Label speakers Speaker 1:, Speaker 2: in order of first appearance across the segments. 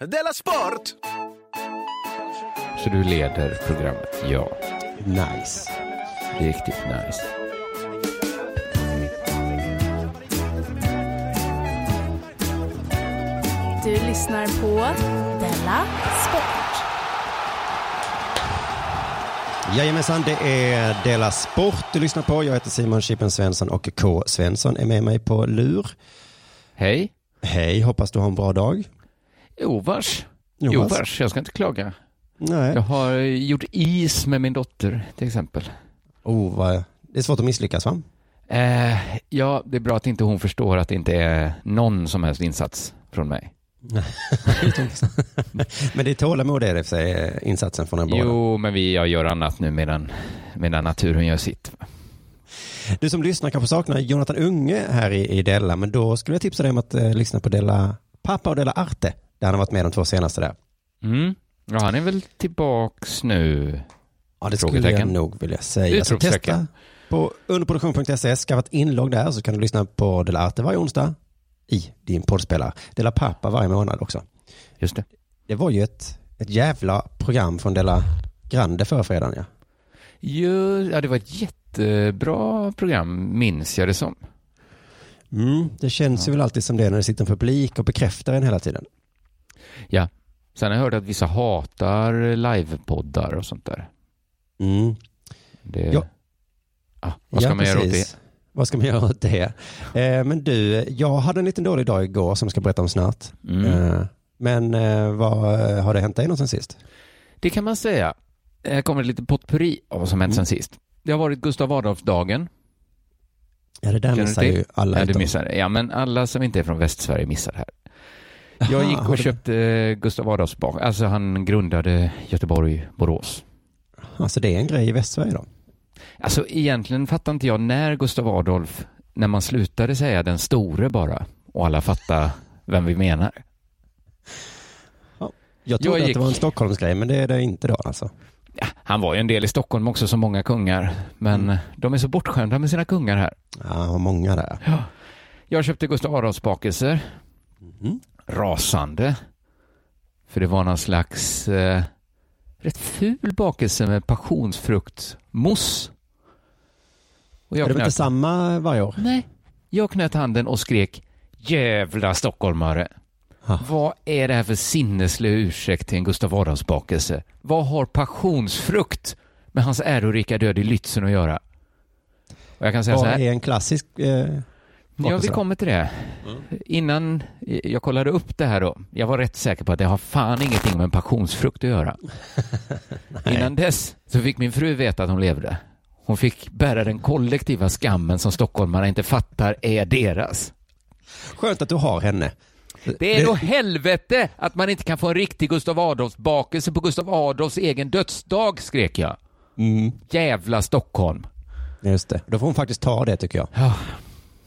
Speaker 1: Della Sport!
Speaker 2: Så du leder programmet? Ja.
Speaker 3: Nice.
Speaker 2: Riktigt nice.
Speaker 4: Du lyssnar på Della Sport.
Speaker 3: Jajamensan, det är Dela Sport du lyssnar på. Jag heter Simon Chippen Svensson och K. Svensson är med mig på lur.
Speaker 2: Hej.
Speaker 3: Hej, hoppas du har en bra dag.
Speaker 2: Ovars.
Speaker 3: Jonas.
Speaker 2: Ovars. Jag ska inte klaga.
Speaker 3: Nej.
Speaker 2: Jag har eh, gjort is med min dotter till exempel.
Speaker 3: Oh, vad... Det är svårt att misslyckas va?
Speaker 2: Eh, ja, det är bra att inte hon förstår att det inte är någon som helst insats från mig.
Speaker 3: Men det är tålamod är det i och för sig, eh, insatsen från en båda.
Speaker 2: Jo, men vi, jag gör annat nu medan, medan naturen gör sitt.
Speaker 3: Du som lyssnar kanske saknar Jonathan Unge här i, i Della, men då skulle jag tipsa dig om att eh, lyssna på Della Pappa och Della Arte, där han har varit med de två senaste där.
Speaker 2: Mm. Ja, han är väl tillbaks nu.
Speaker 3: Ja, det skulle
Speaker 2: Frågetecken.
Speaker 3: jag nog vilja säga. Så
Speaker 2: Utropstecken.
Speaker 3: testa på underproduktion.se, skaffa ett inlogg där så kan du lyssna på Dela Arte varje onsdag i din poddspelare. Dela Pappa varje månad också.
Speaker 2: Just det.
Speaker 3: Det var ju ett, ett jävla program från Dela Grande förra fredagen. Ja.
Speaker 2: Ju, ja, det var ett jättebra program, minns jag det som.
Speaker 3: Mm, det känns ju väl alltid som det när det sitter en publik och bekräftar en hela tiden.
Speaker 2: Sen har jag hört att vissa hatar livepoddar och sånt där.
Speaker 3: Mm.
Speaker 2: Det,
Speaker 3: Ja.
Speaker 2: Ah, vad ska
Speaker 3: Ja,
Speaker 2: man göra åt
Speaker 3: precis.
Speaker 2: det?
Speaker 3: Vad ska man göra åt det? Eh, men du, jag hade en liten dålig dag igår som jag ska berätta om snart.
Speaker 2: Mm.
Speaker 3: Eh, men eh, vad eh, har det hänt dig någon sen sist?
Speaker 2: Det kan man säga. Här kommer det lite potpurri av vad som hänt
Speaker 3: Mm.
Speaker 2: sen sist. Det har varit Gustav Adolfsdagen.
Speaker 3: Ja, det där
Speaker 2: Känner du
Speaker 3: missar
Speaker 2: till?
Speaker 3: ju alla.
Speaker 2: Ja, du
Speaker 3: utom-
Speaker 2: missar det. Ja, men alla som inte är från Västsverige missar det här. Jag
Speaker 3: Aha,
Speaker 2: gick
Speaker 3: Ah, har
Speaker 2: och
Speaker 3: du-
Speaker 2: köpte eh, Gustav Adolfsbach. Alltså han grundade Göteborg, Borås.
Speaker 3: Alltså det är en grej i Västsverige då?
Speaker 2: Alltså egentligen fattar inte jag när Gustav Adolf, när man slutade säga den store bara och alla fattar vem vi menar.
Speaker 3: Jag trodde
Speaker 2: Jag
Speaker 3: att
Speaker 2: gick-
Speaker 3: det var en Stockholmsgrej, men det är det inte då alltså.
Speaker 2: Ja, han var ju en del i Stockholm också som många kungar, men
Speaker 3: Mm.
Speaker 2: de är så bortskämda med sina kungar här.
Speaker 3: Ja, vad många där.
Speaker 2: Jag köpte Gustav Adolfsbakelser,
Speaker 3: Mm.
Speaker 2: rasande, för det var någon slags eh, rätt ful bakelse med passionsfruktmousse. Och
Speaker 3: Är det väl inte
Speaker 2: knöt-
Speaker 3: samma varje år?
Speaker 2: Nej. Jag knöt handen och skrek jävla stockholmare.
Speaker 3: Ha.
Speaker 2: Vad är det här för sinneslig ursäkt till en Gustav Adolfsbakelse? Vad har passionsfrukt med hans ärorika död i Lützen att göra? Och jag kan säga
Speaker 3: Vad
Speaker 2: så här.
Speaker 3: är en klassisk... Eh,
Speaker 2: Ja, vi
Speaker 3: bakelse då?
Speaker 2: kommer till det. Innan jag kollade upp det här då, jag var rätt säker på att det har fan ingenting med en passionsfrukt att göra. Innan dess så fick min fru veta att hon levde. Hon fick bära den kollektiva skammen som stockholmarna inte fattar är deras.
Speaker 3: Skönt att du har henne.
Speaker 2: Det är då helvete att man inte kan få en riktig Gustav Adolfs-bakelse på Gustav Adolfs egen dödsdag, skrek jag.
Speaker 3: Mm,
Speaker 2: Jävla Stockholm.
Speaker 3: just det. Då får hon faktiskt ta det tycker jag.
Speaker 2: Ja.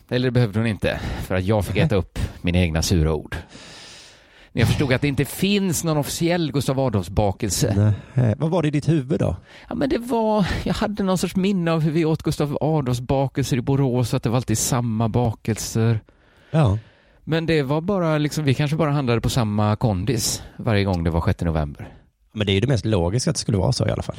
Speaker 2: Eller det behövde hon inte, för att jag fick äta upp mina egna sura ord. Men jag förstod att det inte finns någon officiell Gustav Adolfs-bakelse.
Speaker 3: Nej. eh, Vad var det i ditt huvud då?
Speaker 2: Ja, men det var, jag hade någon sorts minne av hur vi åt Gustav Adolfs-bakelser i Borås, att det var alltid samma bakelser.
Speaker 3: Ja.
Speaker 2: Men det var bara, liksom, vi kanske bara handlade på samma kondis varje gång det var 6 november.
Speaker 3: Men det är ju det mest logiska att det skulle vara så i alla fall.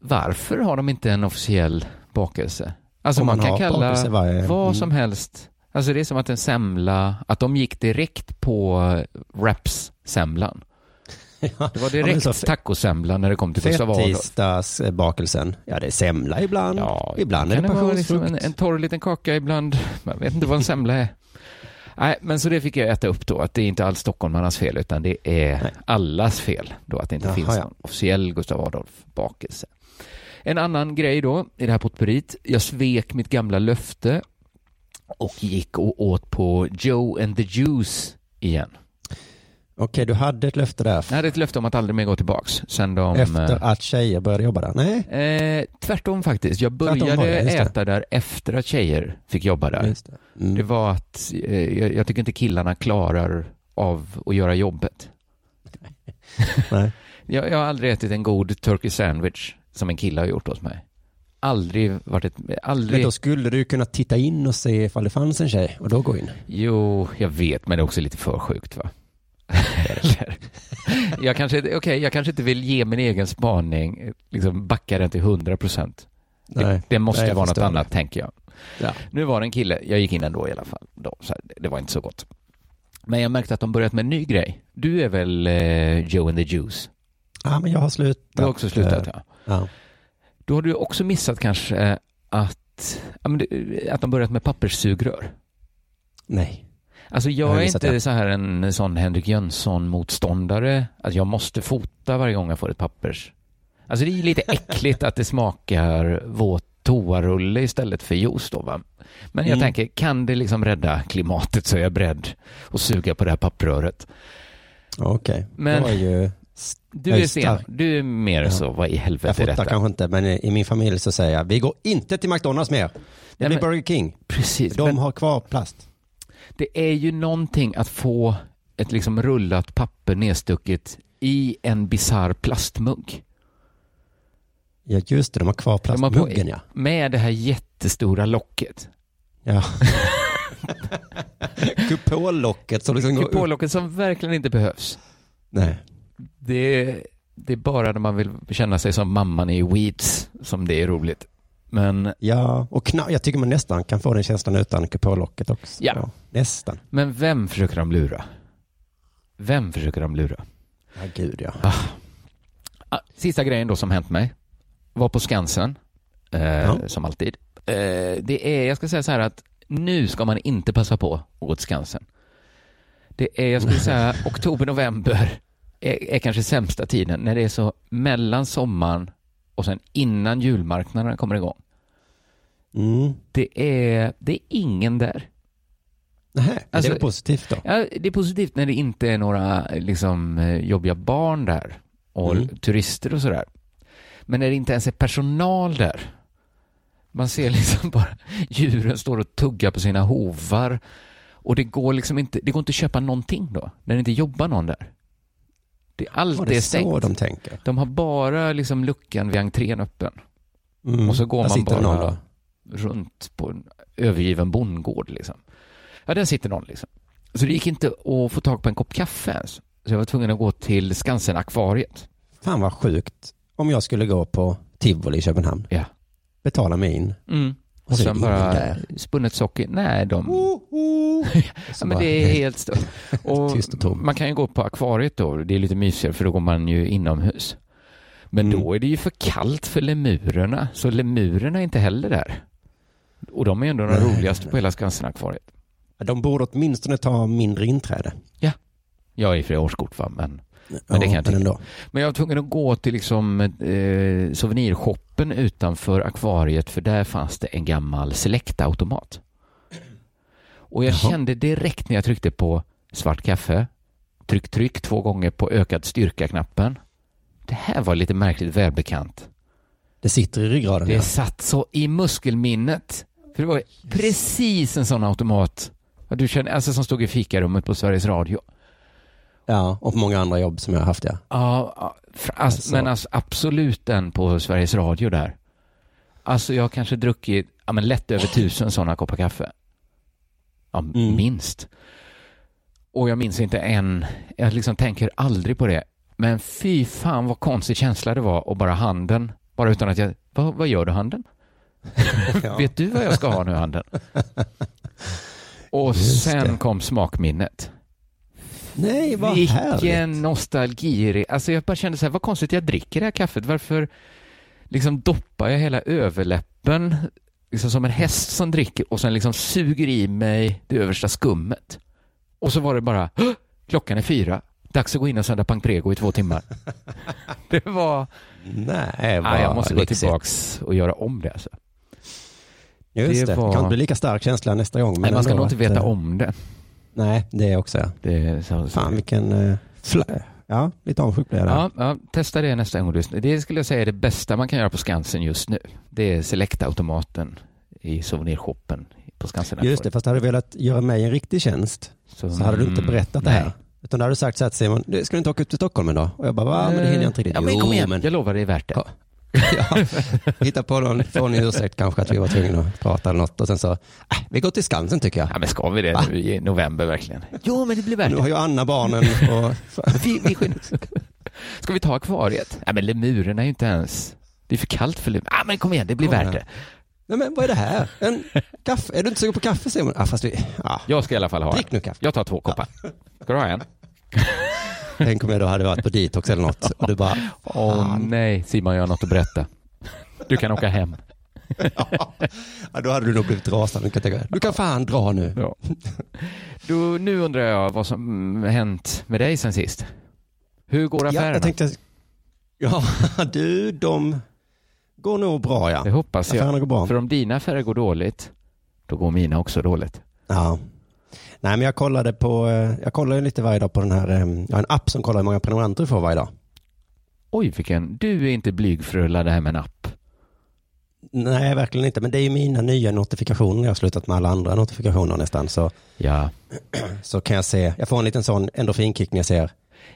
Speaker 2: Varför har de inte en officiell bakelse? Alltså
Speaker 3: Om
Speaker 2: man,
Speaker 3: man
Speaker 2: kan
Speaker 3: har
Speaker 2: kalla
Speaker 3: bakelse varje-
Speaker 2: vad
Speaker 3: Mm.
Speaker 2: som helst. Alltså det är som att en semla, att de gick direkt på eh, wraps-semlan.
Speaker 3: Ja,
Speaker 2: Det var
Speaker 3: men
Speaker 2: direkt
Speaker 3: så fe-
Speaker 2: tacosemla när det kom till Gustav Adolf.
Speaker 3: Fettisdagsbakelsen. Ja, det är semla ibland.
Speaker 2: Ja,
Speaker 3: ibland är
Speaker 2: kan
Speaker 3: det
Speaker 2: vara
Speaker 3: passionsfrukt.
Speaker 2: liksom en, en torr liten kaka ibland. Man vet inte vad en semla är. Nej, men så det fick jag äta upp då, att det är inte alls stockholmarnas fel, utan det är allas fel då att det inte
Speaker 3: Jaha,
Speaker 2: finns
Speaker 3: ja.
Speaker 2: någon officiell Gustav Adolf-bakelse. En annan grej då, i det här potpurrit, jag svek mitt gamla löfte och gick och åt på Joe and the Juice igen.
Speaker 3: Okej, du hade ett löfte där.
Speaker 2: Jag hade ett löfte om att aldrig mer gå tillbaks sen de...
Speaker 3: Efter att tjejer började jobba där. Nej,
Speaker 2: Eh, tvärtom faktiskt. Jag
Speaker 3: Tvärtom var det,
Speaker 2: började
Speaker 3: just det.
Speaker 2: äta där efter att tjejer fick jobba där.
Speaker 3: Just det. Mm.
Speaker 2: Det var att eh, jag, jag tycker inte killarna klarar av att göra jobbet.
Speaker 3: Nej.
Speaker 2: Jag, jag har aldrig ätit en god turkey sandwich som en kille har gjort åt mig. Aldrig varit ett...
Speaker 3: Men
Speaker 2: Aldrig...
Speaker 3: då skulle du kunna titta in och se ifall det fanns en tjej och då gå in.
Speaker 2: Jo, jag vet, men det är också lite för sjukt va? Eller? jag, kanske, okej, jag kanske inte vill ge min egen spaning, eh, liksom backa den till 100 procent. Det,
Speaker 3: Nej.
Speaker 2: det måste
Speaker 3: Nej, jag
Speaker 2: vara något
Speaker 3: förstår
Speaker 2: annat, tänker jag.
Speaker 3: Ja.
Speaker 2: Nu var det en kille, jag gick in ändå i alla fall. Då, så här, det- det var inte så gott. Men jag märkte att de börjat med en ny grej. Du är väl eh, Joe and the Juice?
Speaker 3: Ja, men jag har slutat.
Speaker 2: Du har också slutat,
Speaker 3: Eh,
Speaker 2: ja.
Speaker 3: Ja.
Speaker 2: Då har du också missat kanske eh, att, ja, men det- att de börjat med papperssugrör.
Speaker 3: Nej.
Speaker 2: Alltså
Speaker 3: Jag har
Speaker 2: jag är
Speaker 3: missat
Speaker 2: inte
Speaker 3: det.
Speaker 2: så här en sån Henrik Jönsson-motståndare. Att jag måste fota varje gång jag får ett pappers. Alltså det är lite äckligt att det smakar våt toarulle istället för juice då va. Men jag
Speaker 3: Mm.
Speaker 2: tänker, kan det liksom rädda klimatet så är jag beredd att suga på det här pappröret.
Speaker 3: Okej.
Speaker 2: Men-
Speaker 3: Jag är ju...
Speaker 2: Du
Speaker 3: Jag är
Speaker 2: är sen,
Speaker 3: stark.
Speaker 2: du är mer
Speaker 3: Ja.
Speaker 2: så, vad i
Speaker 3: Jag
Speaker 2: helvete är
Speaker 3: fotar
Speaker 2: detta?
Speaker 3: kanske inte, men i i min familj så säger jag, vi går inte till McDonalds mer. Det
Speaker 2: Nej,
Speaker 3: blir
Speaker 2: men-
Speaker 3: Burger King.
Speaker 2: Precis,
Speaker 3: De
Speaker 2: men
Speaker 3: har kvar plast.
Speaker 2: det är ju någonting att få ett liksom rullat papper nedstucket i en bisarr plastmugg.
Speaker 3: Ja, just det, de har kvar
Speaker 2: De har på-
Speaker 3: plastmuggen, ja.
Speaker 2: Med det här jättestora locket.
Speaker 3: ja. Kupollocket som liksom går upp.
Speaker 2: Kupollocket som verkligen inte behövs.
Speaker 3: Nej.
Speaker 2: Det, det är bara när man vill känna sig som mamman i Weeds som det är roligt. Men,
Speaker 3: Ja, och kna- jag tycker man nästan kan få den känslan utan kupollocket också.
Speaker 2: Ja.
Speaker 3: Nästan.
Speaker 2: men vem försöker de lura? Vem försöker de lura?
Speaker 3: Ja, gud ja.
Speaker 2: Ah, Sista grejen då som hänt mig var på Skansen, eh,
Speaker 3: Ja.
Speaker 2: som alltid. Eh, det är, jag ska säga så här att nu ska man inte passa på att gå till Skansen. Det är, jag skulle säga, oktober, november är, är kanske sämsta tiden när det är så mellan sommaren och sen innan julmarknaden kommer igång.
Speaker 3: Mm.
Speaker 2: Det är, det är ingen där.
Speaker 3: Nähä, men
Speaker 2: Alltså-
Speaker 3: det är väl positivt då.
Speaker 2: Ja, det är positivt när det inte är några eh, liksom, eh, jobbiga barn där och
Speaker 3: Mm.
Speaker 2: turister och sådär. Men när det inte ens är personal där. Man ser liksom bara djuren står och tuggar på sina hovar. Och det går liksom inte, det går inte att köpa någonting då, när det inte jobbar någon där. Det, allt
Speaker 3: Var
Speaker 2: är
Speaker 3: det så
Speaker 2: stängt. De...
Speaker 3: de tänker?
Speaker 2: har bara liksom luckan vid entrén öppen.
Speaker 3: Mm.
Speaker 2: Och så går
Speaker 3: Där
Speaker 2: man
Speaker 3: sitter
Speaker 2: bara
Speaker 3: någon då.
Speaker 2: runt på en övergiven bondgård. Liksom. Ja, där sitter någon. Liksom. Så det gick inte att få tag på en kopp kaffe ens. Så jag var tvungen att gå till Skansen-akvariet.
Speaker 3: Fan vad sjukt om jag skulle gå på Tivoli i Köpenhamn.
Speaker 2: Ja.
Speaker 3: Betala mig in.
Speaker 2: Mm. Och
Speaker 3: så är
Speaker 2: sen
Speaker 3: det ingen
Speaker 2: bara
Speaker 3: där.
Speaker 2: spunnet socker. Nej, de...
Speaker 3: Så
Speaker 2: Ja, men
Speaker 3: bara,
Speaker 2: det är helt stört. Och
Speaker 3: Tyst och tom.
Speaker 2: man kan ju gå på akvariet då. Det är lite mysigare för då går man ju inomhus. Men
Speaker 3: Mm.
Speaker 2: då är det ju för kallt för lemurerna. Så lemurerna är inte heller där. Och de är ju ändå de
Speaker 3: Nej,
Speaker 2: roligaste
Speaker 3: nej.
Speaker 2: på hela Skansen-akvariet.
Speaker 3: De borde åtminstone ta mindre inträde.
Speaker 2: Jag är ju flera årskort va, men
Speaker 3: Men
Speaker 2: det kan jag tycka.
Speaker 3: ändå.
Speaker 2: Men jag var tvungen att gå till liksom, eh, souvenirshoppen utanför akvariet för där fanns det en gammal Selecta-automat. Och jag
Speaker 3: Jaha.
Speaker 2: kände direkt när jag tryckte på svart kaffe, tryck, tryck två gånger på ökad styrka-knappen. Det här var lite märkligt välbekant.
Speaker 3: Det sitter i ryggraden.
Speaker 2: Det
Speaker 3: ja.
Speaker 2: satt så i muskelminnet. För det var precis en sån automat Ja, du känner, alltså som stod i fikarummet på Sveriges Radio.
Speaker 3: Ja, och många andra jobb som jag har haft, ja.
Speaker 2: Ja, ja, fr- ass-
Speaker 3: Alltså.
Speaker 2: men alltså, absolut den på Sveriges Radio där. Alltså jag har kanske druckit ja, men lätt över tusen sådana koppar kaffe. Ja, m-
Speaker 3: Mm.
Speaker 2: minst. Och jag minns inte en, jag liksom tänker aldrig på det. Men fy fan vad konstig känsla det var och bara handen, bara utan att jag, vad, vad gör du handen? Vet du vad jag ska ha nu handen? Och
Speaker 3: Just
Speaker 2: sen
Speaker 3: det.
Speaker 2: kom smakminnet.
Speaker 3: Nej, vad härligt.
Speaker 2: Vilken nostalgi. Alltså jag bara kände så här, vad konstigt jag dricker det här kaffet. Varför liksom doppar jag hela överläppen liksom som en häst som dricker och sen liksom suger i mig det översta skummet. Och så var det bara, "Hå! klockan är fyra, dags att gå in och sända Pankrego i två timmar. det var,
Speaker 3: Nej, vad
Speaker 2: nej, jag måste gå
Speaker 3: lyxigt.
Speaker 2: tillbaks och göra om det. Alltså.
Speaker 3: Just
Speaker 2: Det
Speaker 3: det,
Speaker 2: var-
Speaker 3: det kan inte bli lika stark känsla nästa gång. Men
Speaker 2: Nej, man ska
Speaker 3: ändå
Speaker 2: nog inte
Speaker 3: att,
Speaker 2: veta
Speaker 3: eh,
Speaker 2: om det.
Speaker 3: Nej, det också, ja.
Speaker 2: det är så, så.
Speaker 3: Fan, vilken... eh, fla- Ja, lite avundsjuk blev jag där.
Speaker 2: Ja, ja, testa det nästa gång du lyssnar. Det skulle jag säga är det bästa man kan göra på Skansen just nu. Det är Selecta-automaten i souvenirshoppen på Skansen.
Speaker 3: Just det, fast hade du velat göra mig en riktig tjänst så hade du inte
Speaker 2: mm,
Speaker 3: berättat det här.
Speaker 2: nej.
Speaker 3: Utan då hade du sagt så här till Simon, "Du, ska du inte åka upp till Stockholm idag? Och jag bara, va, men det hinner jag inte riktigt.
Speaker 2: Eh, Ja, men
Speaker 3: Jo,
Speaker 2: kom igen.
Speaker 3: men-
Speaker 2: Jag lovar, det är värt det.
Speaker 3: Ja. ja, hitta på någon från ursäkt kanske att vi var tvungna att prata eller något. Och sen så, "Äh, vi går till Skansen tycker jag.
Speaker 2: Ja, men ska vi det nu i november verkligen? Jo, men det blir värt
Speaker 3: Nu har
Speaker 2: det.
Speaker 3: ju Anna barnen och...
Speaker 2: Vi, vi skyndar. Ska vi ta akvariet? Nej, men lemurerna är ju inte ens... Det är för kallt för lemurer. Ah, men kom igen, det blir
Speaker 3: Kom
Speaker 2: värt
Speaker 3: igen.
Speaker 2: det.
Speaker 3: Nej men vad är det här? En kaffe? Är du inte sugen på kaffe Simon? Ah, fast vi, ah,
Speaker 2: Jag ska i alla fall ha
Speaker 3: drick
Speaker 2: en.
Speaker 3: nu kaffe.
Speaker 2: Jag tar två koppar. Ska du ha en?
Speaker 3: Tänk om jag då hade varit på detox eller något och du bara,
Speaker 2: Åh nej, Simon, jag har något att berätta. Du kan åka hem.
Speaker 3: ja, då hade du nog blivit rasande. Du kan, tänka, du kan fan dra nu.
Speaker 2: Ja. Du, nu undrar jag vad som mm, hänt med dig sen sist. Hur går
Speaker 3: Ja,
Speaker 2: affärerna?
Speaker 3: jag tänkte, ja du, de går nog bra ja.
Speaker 2: Det hoppas jag.
Speaker 3: Affärerna går bra.
Speaker 2: För om dina affärer går dåligt, då går mina också dåligt.
Speaker 3: Ja. Nej men jag kollade på, eh, jag kollar ju lite varje dag på den här, eh, jag har en app som kollar hur många prenumeranter du får varje dag.
Speaker 2: Oj, vilken... Du är inte blyg för att rulla det här med en app.
Speaker 3: Nej, verkligen inte. Men det är ju mina nya notifikationer. Jag har slutat med alla andra notifikationer nästan. Så,
Speaker 2: Ja,
Speaker 3: så kan jag se, jag får en liten sån endorfinkick när jag ser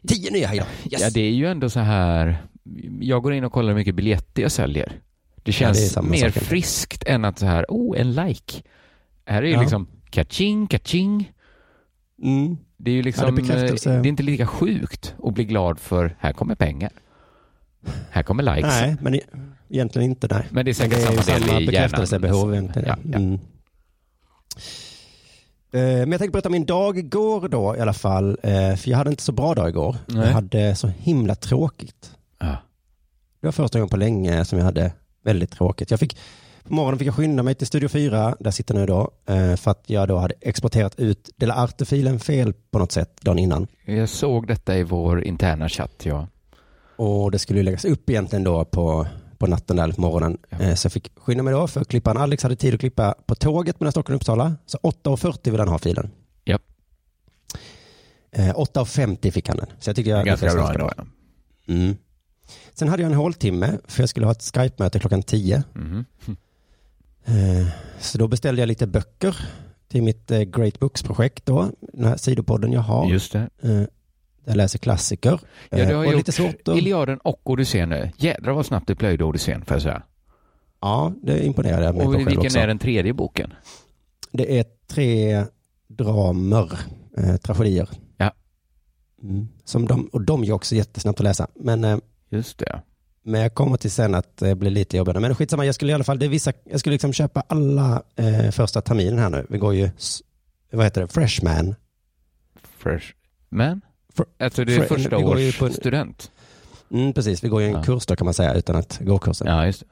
Speaker 3: tio nya idag. Yes!
Speaker 2: ja det är ju ändå så här. Jag går in och kollar hur mycket biljetter jag säljer. Det
Speaker 3: det är
Speaker 2: känns
Speaker 3: samma
Speaker 2: mer
Speaker 3: sak.
Speaker 2: friskt än att så här, oh, en like. Här är ju
Speaker 3: Ja.
Speaker 2: liksom catching, catching.
Speaker 3: Mm.
Speaker 2: Det är ju
Speaker 3: Ja,
Speaker 2: liksom,
Speaker 3: det är
Speaker 2: eh,
Speaker 3: bekräftelse.
Speaker 2: det är inte lika sjukt att bli glad för här kommer pengar. Här kommer likes.
Speaker 3: Nej, men e- egentligen inte. Nej.
Speaker 2: Men det är säkert samma
Speaker 3: Men
Speaker 2: del i hjärnan. liksom.
Speaker 3: bekräftelsebehov egentligen.
Speaker 2: Ja, ja.
Speaker 3: Mm. Eh, Men jag tänkte berätta om min dag igår då i alla fall. eh, För jag hade inte så bra dag igår.
Speaker 2: Nej.
Speaker 3: Jag hade så himla tråkigt.
Speaker 2: Ja.
Speaker 3: Det var första gången på länge som jag hade väldigt tråkigt. Jag fick, på morgonen fick jag skynda mig till Studio 4, där jag sitter nu idag, eh, för att jag då hade exporterat ut Dela Arte-filen fel på något sätt dagen innan.
Speaker 2: Jag såg detta i vår interna chatt, ja.
Speaker 3: Och det skulle ju läggas upp egentligen då på, på natten där, eller på morgonen.
Speaker 2: Ja.
Speaker 3: Eh, Så jag fick skynda mig då för att klippa. Alex hade tid att klippa på tåget mellan Stockholm och Uppsala. Så 8.40 ville han ha filen.
Speaker 2: Ja.
Speaker 3: Eh, 8.50 fick han den. Så jag tyckte jag lyckades ganska bra.
Speaker 2: ändå.
Speaker 3: Mm. Sen hade jag en håltimme, för jag skulle ha ett Skype-möte klockan 10.
Speaker 2: Mhm.
Speaker 3: Eh, Så då beställde jag lite böcker till mitt eh, Great Books-projekt då, den här sidopodden jag har.
Speaker 2: Just det.
Speaker 3: Eh, Där jag läser klassiker.
Speaker 2: Ja, du har
Speaker 3: Eh, och
Speaker 2: gjort
Speaker 3: lite svårt att...
Speaker 2: Iliaden och Odysseen nu. Jädrar vad snabbt du plöjde Odysseen, får jag säga.
Speaker 3: Ja, det imponerade jag mig
Speaker 2: Och
Speaker 3: på själv
Speaker 2: vilken
Speaker 3: också.
Speaker 2: är den tredje boken?
Speaker 3: Det är tre dramer, eh, tragedier.
Speaker 2: Ja.
Speaker 3: Mm. Som de, och de är också jättesnabbt att läsa. Men, eh,
Speaker 2: Just det.
Speaker 3: men jag kommer till sen att det blir lite jobbigare. Men skitsamma, jag skulle i alla fall, det är vissa, jag skulle liksom köpa alla eh, första terminen här nu. Vi går ju, s- vad heter det, Freshman
Speaker 2: Fresh. Men?
Speaker 3: Fr-
Speaker 2: Alltså det är
Speaker 3: Fre-
Speaker 2: första
Speaker 3: vi går ju
Speaker 2: års
Speaker 3: på en-
Speaker 2: student.
Speaker 3: Mm, precis, vi går ju en
Speaker 2: Ja.
Speaker 3: kurs då kan man säga utan att gå kursen.
Speaker 2: Ja, just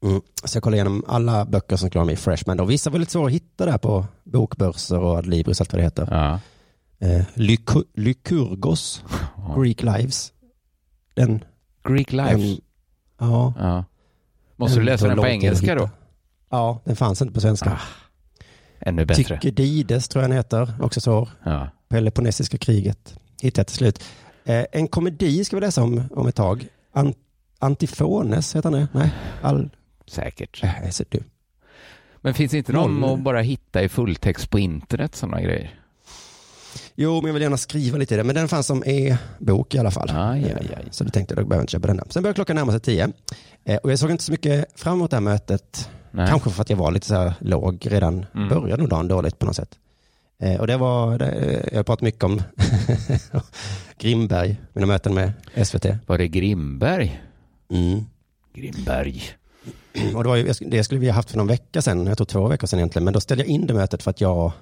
Speaker 2: det.
Speaker 3: Mm. Så jag kollade igenom alla böcker som klarar mig i Freshman. Då. Vissa var lite svåra att hitta där på bokbörser och Adlibris och allt vad det heter.
Speaker 2: Ja.
Speaker 3: Eh, Lyku- Lykurgos,
Speaker 2: Ja.
Speaker 3: Greek Lives. Den,
Speaker 2: Greek Lives.
Speaker 3: den ja.
Speaker 2: Ja. Måste du läsa
Speaker 3: tog
Speaker 2: den på
Speaker 3: lång tid att
Speaker 2: engelska
Speaker 3: hitta.
Speaker 2: då?
Speaker 3: Ja, den fanns inte på svenska.
Speaker 2: Ännu bättre.
Speaker 3: Tykidides tror jag den heter, också svår.
Speaker 2: Ja.
Speaker 3: Peloponnesiska kriget hittade jag till slut. Eh, en komedi ska vi läsa om, om ett tag. An- Antifones heter han det? Nej, all...
Speaker 2: Säkert.
Speaker 3: Jag är så dum.
Speaker 2: Men finns det inte någon
Speaker 3: Noll.
Speaker 2: att bara hitta i fulltext på internet sådana grejer?
Speaker 3: Jo, men jag vill gärna skriva lite i det. Men den fanns som e-bok i alla fall. Eh,
Speaker 2: Ah, ja, ja, ja.
Speaker 3: Så då tänkte jag, då behöver jag inte köpa den där. Sen började klockan närma sig tio. Eh, Och jag såg inte så mycket fram emot det här mötet.
Speaker 2: Nej.
Speaker 3: Kanske för att jag var lite så här låg redan.
Speaker 2: Mm.
Speaker 3: Började nog dagen dåligt på något sätt. Eh, Och det var, det, jag har pratat mycket om Grimberg, mina möten med SVT.
Speaker 2: Var det Grimberg?
Speaker 3: Mm.
Speaker 2: Grimberg.
Speaker 3: Och det, var ju, jag sk- det skulle vi ha haft för någon vecka sedan, jag tror två veckor sedan egentligen, men då ställde jag in det mötet för att jag,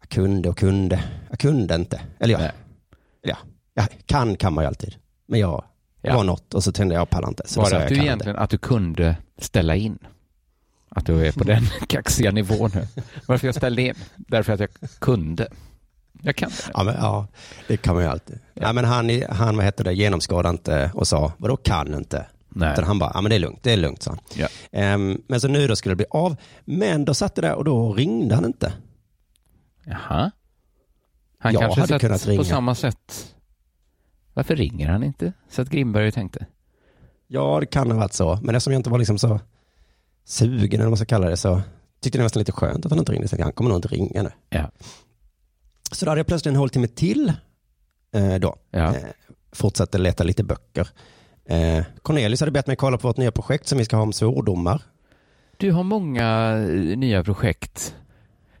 Speaker 3: jag kunde och kunde. Jag kunde inte. Eller jag,
Speaker 2: Nej.
Speaker 3: eller jag, jag kan kan man ju alltid. Men jag, det
Speaker 2: Ja.
Speaker 3: var något och så tände jag, jag pallar inte. Så då sa
Speaker 2: Bara
Speaker 3: jag,
Speaker 2: att
Speaker 3: jag
Speaker 2: du
Speaker 3: kan
Speaker 2: egentligen att du kunde ställa in. Att du är på den kaxiga nivån nu. Varför jag ställde in? Därför att jag kunde. Jag kan
Speaker 3: inte. Ja, men, ja, det kan man ju alltid. Ja. men han, i- han, vad heter det, genomskådade inte och sa, vadå kan inte?
Speaker 2: Nej.
Speaker 3: Utan han bara, ja men det är lugnt, det är lugnt, sa han.
Speaker 2: Ja.
Speaker 3: Ehm, men så nu då skulle det bli av, men då satt det där och då ringde han inte.
Speaker 2: Jaha. Han
Speaker 3: Jag
Speaker 2: kanske
Speaker 3: hade
Speaker 2: satt
Speaker 3: kunnat
Speaker 2: på
Speaker 3: ringa.
Speaker 2: samma sätt. Varför ringer han inte? Så att Grimberg tänkte.
Speaker 3: Ja, det kan ha varit så. Men eftersom jag inte var liksom så sugen, eller vad man ska kalla det, så tyckte jag det var nästan lite skönt att han inte ringde. Så Han kommer nog inte ringa nu.
Speaker 2: Ja.
Speaker 3: Så då hade jag plötsligt en håltimme till eh, då.
Speaker 2: Ja.
Speaker 3: Eh, fortsatte leta lite böcker. Eh, Cornelius hade bett mig kolla på vårt nya projekt som vi ska ha om svordomar.
Speaker 2: Du har många eh, nya projekt.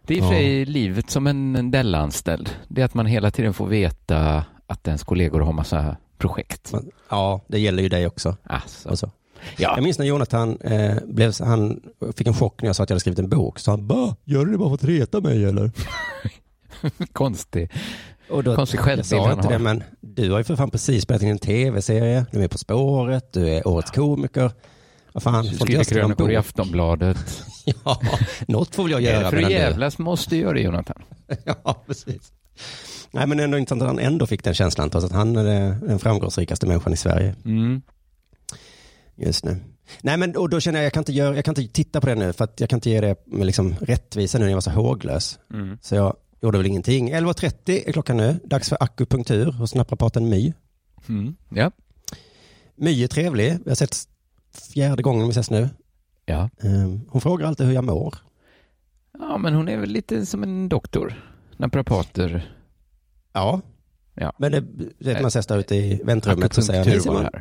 Speaker 2: Det är i och för
Speaker 3: Ja.
Speaker 2: sig livet som en Dell-anställd. Det är att man hela tiden får veta att ens kollegor har massa projekt.
Speaker 3: Man- Ja, det gäller ju dig också.
Speaker 2: Alltså.
Speaker 3: Och så.
Speaker 2: Ja.
Speaker 3: Jag minns när Jonathan eh, blev, så- han fick en chock när jag sa att jag hade skrivit en bok. Så han bara, gör du det bara för att reta mig eller?
Speaker 2: Konstig.
Speaker 3: Och då,
Speaker 2: Konstig självbild
Speaker 3: jag
Speaker 2: han
Speaker 3: sa inte
Speaker 2: har.
Speaker 3: det, men du har ju för fan precis spelat in en tv-serie, du är På spåret, du är årets komiker. Vad fan, får
Speaker 2: Du
Speaker 3: inte
Speaker 2: skriver
Speaker 3: jag skriva en
Speaker 2: krönikor i
Speaker 3: bok?
Speaker 2: Aftonbladet.
Speaker 3: Ja, något får väl jag göra.
Speaker 2: För att
Speaker 3: medan du-
Speaker 2: jävlas måste du göra det, Jonathan.
Speaker 3: Ja, precis. Nej, men ändå intressant att han ändå fick den känslan, trots att han är det- den framgångsrikaste människan i Sverige
Speaker 2: Mm.
Speaker 3: just nu. Nej, men och då känner jag, jag kan inte, göra, jag kan inte titta på det nu, för att jag kan inte ge det med liksom, rättvisa nu när jag var så håglös.
Speaker 2: Mm.
Speaker 3: Så jag gjorde väl ingenting. 11.30 är klockan nu, dags för akupunktur hos naprapaten My.
Speaker 2: Mm. Ja.
Speaker 3: My är trevlig, vi har sett fjärde gången vi ses nu.
Speaker 2: ja.
Speaker 3: Ehm, Hon frågar alltid hur jag mår.
Speaker 2: Ja, men hon är väl lite som en doktor. Naprapater.
Speaker 3: Ja.
Speaker 2: Ja.
Speaker 3: Men det, det är man ses där ute i väntrummet så säger jag, "Hej,
Speaker 2: Akupunktur var
Speaker 3: Simon."
Speaker 2: det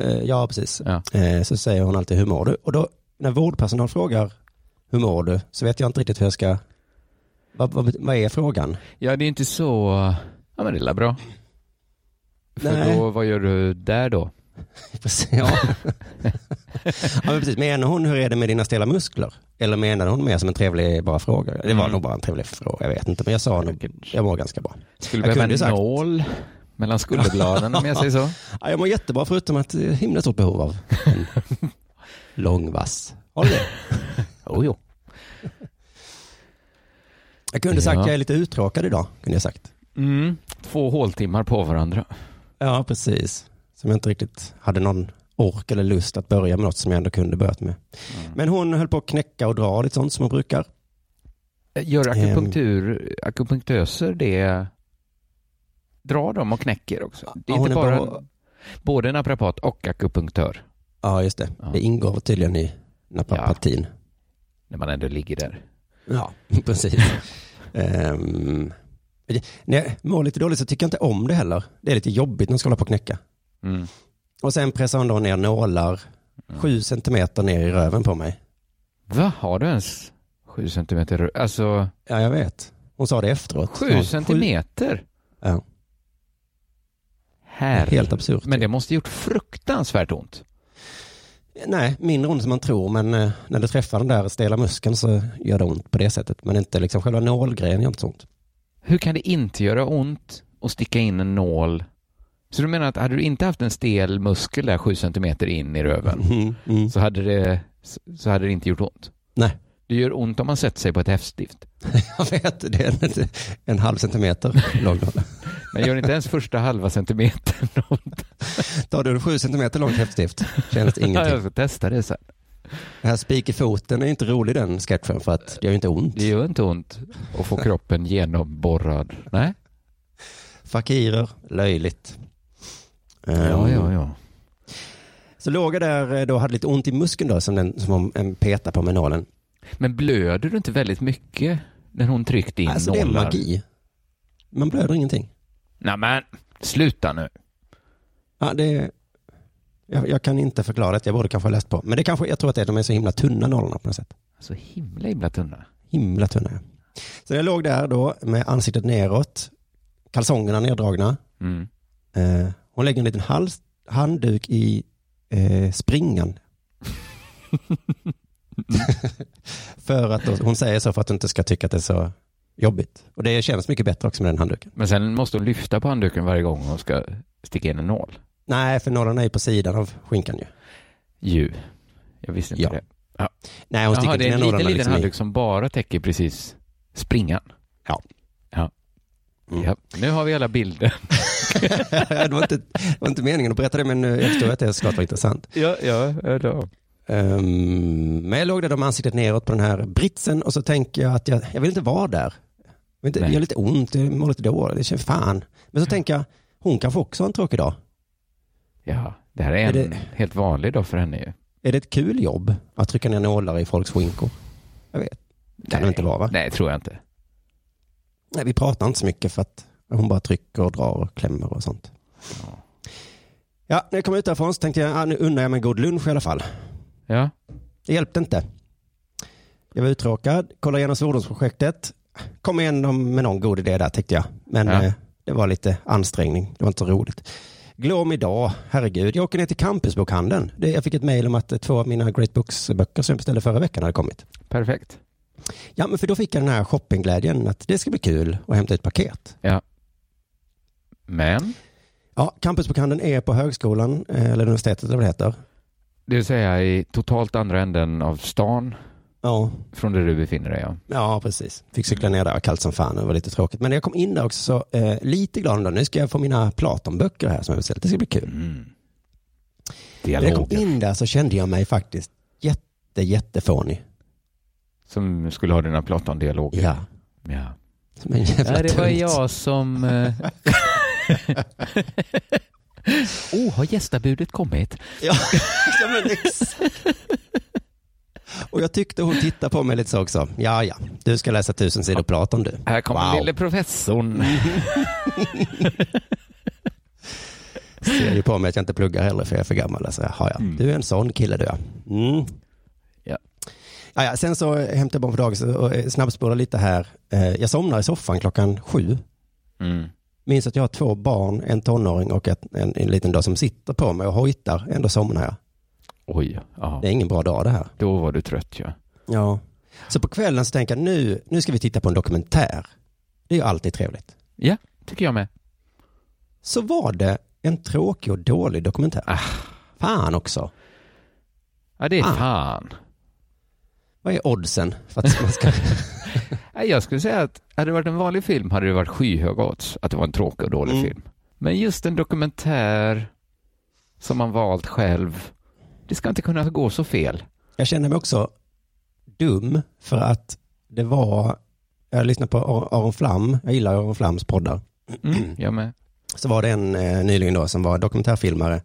Speaker 2: här.
Speaker 3: Eh, Ja, precis.
Speaker 2: Ja.
Speaker 3: Eh, Så säger hon alltid hur mår du? Och då när vårdpersonal frågar hur mår du så vet jag inte riktigt hur jag ska... Vad, vad, vad är frågan?
Speaker 2: Ja, det är inte så... Ja, men det är väl bra. För
Speaker 3: Nej.
Speaker 2: då, vad gör du där då?
Speaker 3: Precis, ja. ja, men precis. Menar hon hur är det med dina stela muskler? Eller menade hon mer som en trevlig bara fråga? Det
Speaker 2: Mm.
Speaker 3: var nog bara en trevlig fråga, jag vet inte. Men jag sa nog,
Speaker 2: Säkert.
Speaker 3: jag mår ganska bra.
Speaker 2: Skulle
Speaker 3: Jag
Speaker 2: behöva en
Speaker 3: kunde sagt-
Speaker 2: nål mellan skulderbladen om jag säger så.
Speaker 3: Ja, jag mår jättebra förutom att det är himla stort behov av en lång vass. Har du det?
Speaker 2: Jo, jo.
Speaker 3: Jag kunde sagt
Speaker 2: Ja.
Speaker 3: jag är lite uttråkad idag, kunde jag sagt.
Speaker 2: Mm. Två håltimmar på varandra.
Speaker 3: Ja, precis. Som jag inte riktigt hade någon ork eller lust att börja med något som jag ändå kunde börjat med.
Speaker 2: Mm.
Speaker 3: Men hon höll på att knäcka och dra lite sånt som hon brukar. Ehm.
Speaker 2: Gör akupunktur, akupunktöser det, drar de och knäcker också? Det är
Speaker 3: Ja, hon
Speaker 2: inte
Speaker 3: är
Speaker 2: bara,
Speaker 3: bra-
Speaker 2: både naprapat och akupunktör
Speaker 3: Ja, just det.
Speaker 2: Ja.
Speaker 3: Det ingår tydligen i naprapatin.
Speaker 2: när man ändå ligger där.
Speaker 3: Ja, precis. um, när jag mår lite dåligt så tycker jag inte om det heller. Det är lite jobbigt när jag ska hålla på och knäcka.
Speaker 2: Mm.
Speaker 3: Och sen pressar hon då ner nålar sju centimeter ner i röven på mig.
Speaker 2: Va, har du ens sju centimeter? rö- Alltså,
Speaker 3: Ja, jag vet. Hon sa det efteråt.
Speaker 2: sju
Speaker 3: Ja,
Speaker 2: centimeter?
Speaker 3: Ja,
Speaker 2: Här.
Speaker 3: helt absurt.
Speaker 2: Men det måste gjort fruktansvärt ont.
Speaker 3: Nej, mindre ont som man tror, men eh, när du träffar den där stela muskeln så gör det ont på det sättet. Men inte liksom själva nålgrejen gör inte så ont.
Speaker 2: Hur kan det inte göra ont att sticka in en nål? Så du menar att hade du inte haft en stel muskel där sju centimeter in i röven
Speaker 3: Mm. Mm.
Speaker 2: Typ. så hade det, så hade det inte gjort ont?
Speaker 3: Nej,
Speaker 2: Det gör ont om man sätter sig på ett häftstift.
Speaker 3: jag vet, det är en, en halv centimeter lång nål.
Speaker 2: Men gör inte ens första halva centimetern ont.
Speaker 3: Tar du en sju centimeter lång häftstift känns det
Speaker 2: Ja,
Speaker 3: ingenting.
Speaker 2: jag ska testa det sen.
Speaker 3: Den här spik i foten är inte rolig den sketchen för att det gör ju inte ont.
Speaker 2: Det gör inte ont att få kroppen genomborrad. Nej?
Speaker 3: Fakirer, löjligt.
Speaker 2: Ja,
Speaker 3: Ehm,
Speaker 2: ja, ja.
Speaker 3: Så låg jag där eh, då hade lite ont i muskeln då som, den, som om en petar på med nålen.
Speaker 2: Men blöder du inte väldigt mycket när hon tryckte in
Speaker 3: Alltså det är
Speaker 2: nålar?
Speaker 3: magi. Man blöder ingenting.
Speaker 2: Nej, men sluta nu.
Speaker 3: Ja, det, jag, jag kan inte förklara det, jag borde kanske ha läst på. Men det kanske, jag tror att det, är- de är så himla tunna nollorna på något sätt.
Speaker 2: Så himla himla tunna.
Speaker 3: Himla tunna. ja. Så jag låg där då med ansiktet neråt, kalsongerna neddragna.
Speaker 2: Mm.
Speaker 3: Eh, hon lägger en liten hals, handduk i eh, springan. för att då, hon säger så för att du inte ska tycka att det är så jobbigt. Och det känns mycket bättre också med den handduken.
Speaker 2: Men sen måste hon lyfta på handduken varje gång hon ska sticka in en nål.
Speaker 3: Nej, för nålen är ju på sidan av skinkan ju.
Speaker 2: Ju. Jag visste inte
Speaker 3: Ja.
Speaker 2: det.
Speaker 3: Nej, hon sticker
Speaker 2: Jaha, det är en
Speaker 3: inte ner
Speaker 2: liten,
Speaker 3: nålarna
Speaker 2: liten
Speaker 3: liksom i-
Speaker 2: handduk som bara täcker precis springan.
Speaker 3: Ja.
Speaker 2: Ja.
Speaker 3: Mm.
Speaker 2: ja. Nu har vi alla bilder.
Speaker 3: det, var inte, det var inte meningen att berätta det, men eh, jag förstår att det såklart var intressant.
Speaker 2: Ja, ja, ja.
Speaker 3: Ehm, men jag låg där då med ansiktet neråt på den här britsen och så tänker jag att jag, jag vill inte vara där. Jag vill inte,
Speaker 2: Nej. Mm.
Speaker 3: det gör lite ont, det mår lite dåligt, det känns fan. Men så tänker jag, hon kanske också har en tråkig dag.
Speaker 2: ja. Det här är
Speaker 3: Är
Speaker 2: en
Speaker 3: det-
Speaker 2: helt vanlig dag för henne ju.
Speaker 3: Är det ett kul jobb att trycka ner nålar i folks skinkor? Jag vet. Kan det
Speaker 2: Nej.
Speaker 3: inte vara va?
Speaker 2: Nej, tror jag inte.
Speaker 3: Nej, vi pratar inte så mycket för att hon bara trycker och drar och klämmer och sånt.
Speaker 2: Ja.
Speaker 3: Ja, när jag kom ut därifrån så tänkte jag, ah, nu unnar jag mig en god lunch i alla fall.
Speaker 2: Ja.
Speaker 3: Det hjälpte inte. Jag var uttråkad, kollade igenom svordomsprojektet. Kom igen om- med någon god idé där tyckte jag. Men
Speaker 2: Ja.
Speaker 3: eh, det var lite ansträngning. Det var inte så roligt. Glöm idag, herregud. Jag åker ner till Campusbokhandeln. Det- Jag fick ett mejl om att eh, två av mina Great Books-böcker som jag beställde förra veckan hade kommit.
Speaker 2: Perfekt.
Speaker 3: Ja, men för då fick jag den här shoppingglädjen att det ska bli kul att hämta ut paket.
Speaker 2: Men,
Speaker 3: Ja, Campusbokhandeln är på högskolan, eh, eller universitetet eller vad det heter.
Speaker 2: det vill säga i totalt andra änden av stan
Speaker 3: Ja,
Speaker 2: från där du befinner dig. Ja.
Speaker 3: Ja, precis. Fick cykla ner där, Det var kallt som fan, det var lite tråkigt. Men när jag kom in där också så, eh, lite glad ändå, nu ska jag få mina Platonböcker här som jag beställt, det ska bli kul.
Speaker 2: Mm.
Speaker 3: När jag kom
Speaker 2: Dialoger
Speaker 3: in där så kände jag mig faktiskt jätte, jättefånig.
Speaker 2: som skulle ha dina Platon-dialoger.
Speaker 3: Ja.
Speaker 2: Ja.
Speaker 3: Som en jävla
Speaker 2: Nej, det var
Speaker 3: tunt.
Speaker 2: jag som... eh, oh, har gästabudet kommit?
Speaker 3: Ja, ja men exakt. Och jag tyckte hon tittade på mig lite så också. Ja, ja, du ska läsa tusen sidor Platon du.
Speaker 2: Här kommer
Speaker 3: Wow.
Speaker 2: lille professorn.
Speaker 3: Ser ju på mig att jag inte pluggar heller för jag är för gammal. Alltså, jaha, ja. Du är en sån kille du ja. Mm.
Speaker 2: Mm. Ja.
Speaker 3: Ja, ja. Sen så hämtade jag barn på dagis och eh, snabbspolade lite här. Eh, Jag somnar i soffan klockan sju.
Speaker 2: Mm.
Speaker 3: Minns att jag har två barn, en tonåring och ett, en, en liten dag som sitter på mig och hojtar. Ändå somnar jag.
Speaker 2: Oj, ja.
Speaker 3: Det är ingen bra dag det här.
Speaker 2: Då var du trött ja.
Speaker 3: Ja. Så på kvällen så tänker jag nu, nu ska vi titta på en dokumentär. Det är ju alltid trevligt.
Speaker 2: Ja, tycker jag med.
Speaker 3: Så var det en tråkig och dålig dokumentär.
Speaker 2: Ah.
Speaker 3: Fan också.
Speaker 2: Ja, det är
Speaker 3: Ah.
Speaker 2: fan.
Speaker 3: Vad är oddsen för att man ska...
Speaker 2: Nej, Jag skulle säga att hade det varit en vanlig film hade det varit skyhöga odds att det var en tråkig och dålig
Speaker 3: Mm.
Speaker 2: film. Men just en dokumentär som man valt själv, det ska inte kunna gå så fel.
Speaker 3: Jag känner mig också dum för att det var, jag lyssnade på Ar- Aron Flam, jag gillar Aron Flams poddar,
Speaker 2: Mm, jag med.
Speaker 3: så var det en eh, nyligen då som var dokumentärfilmare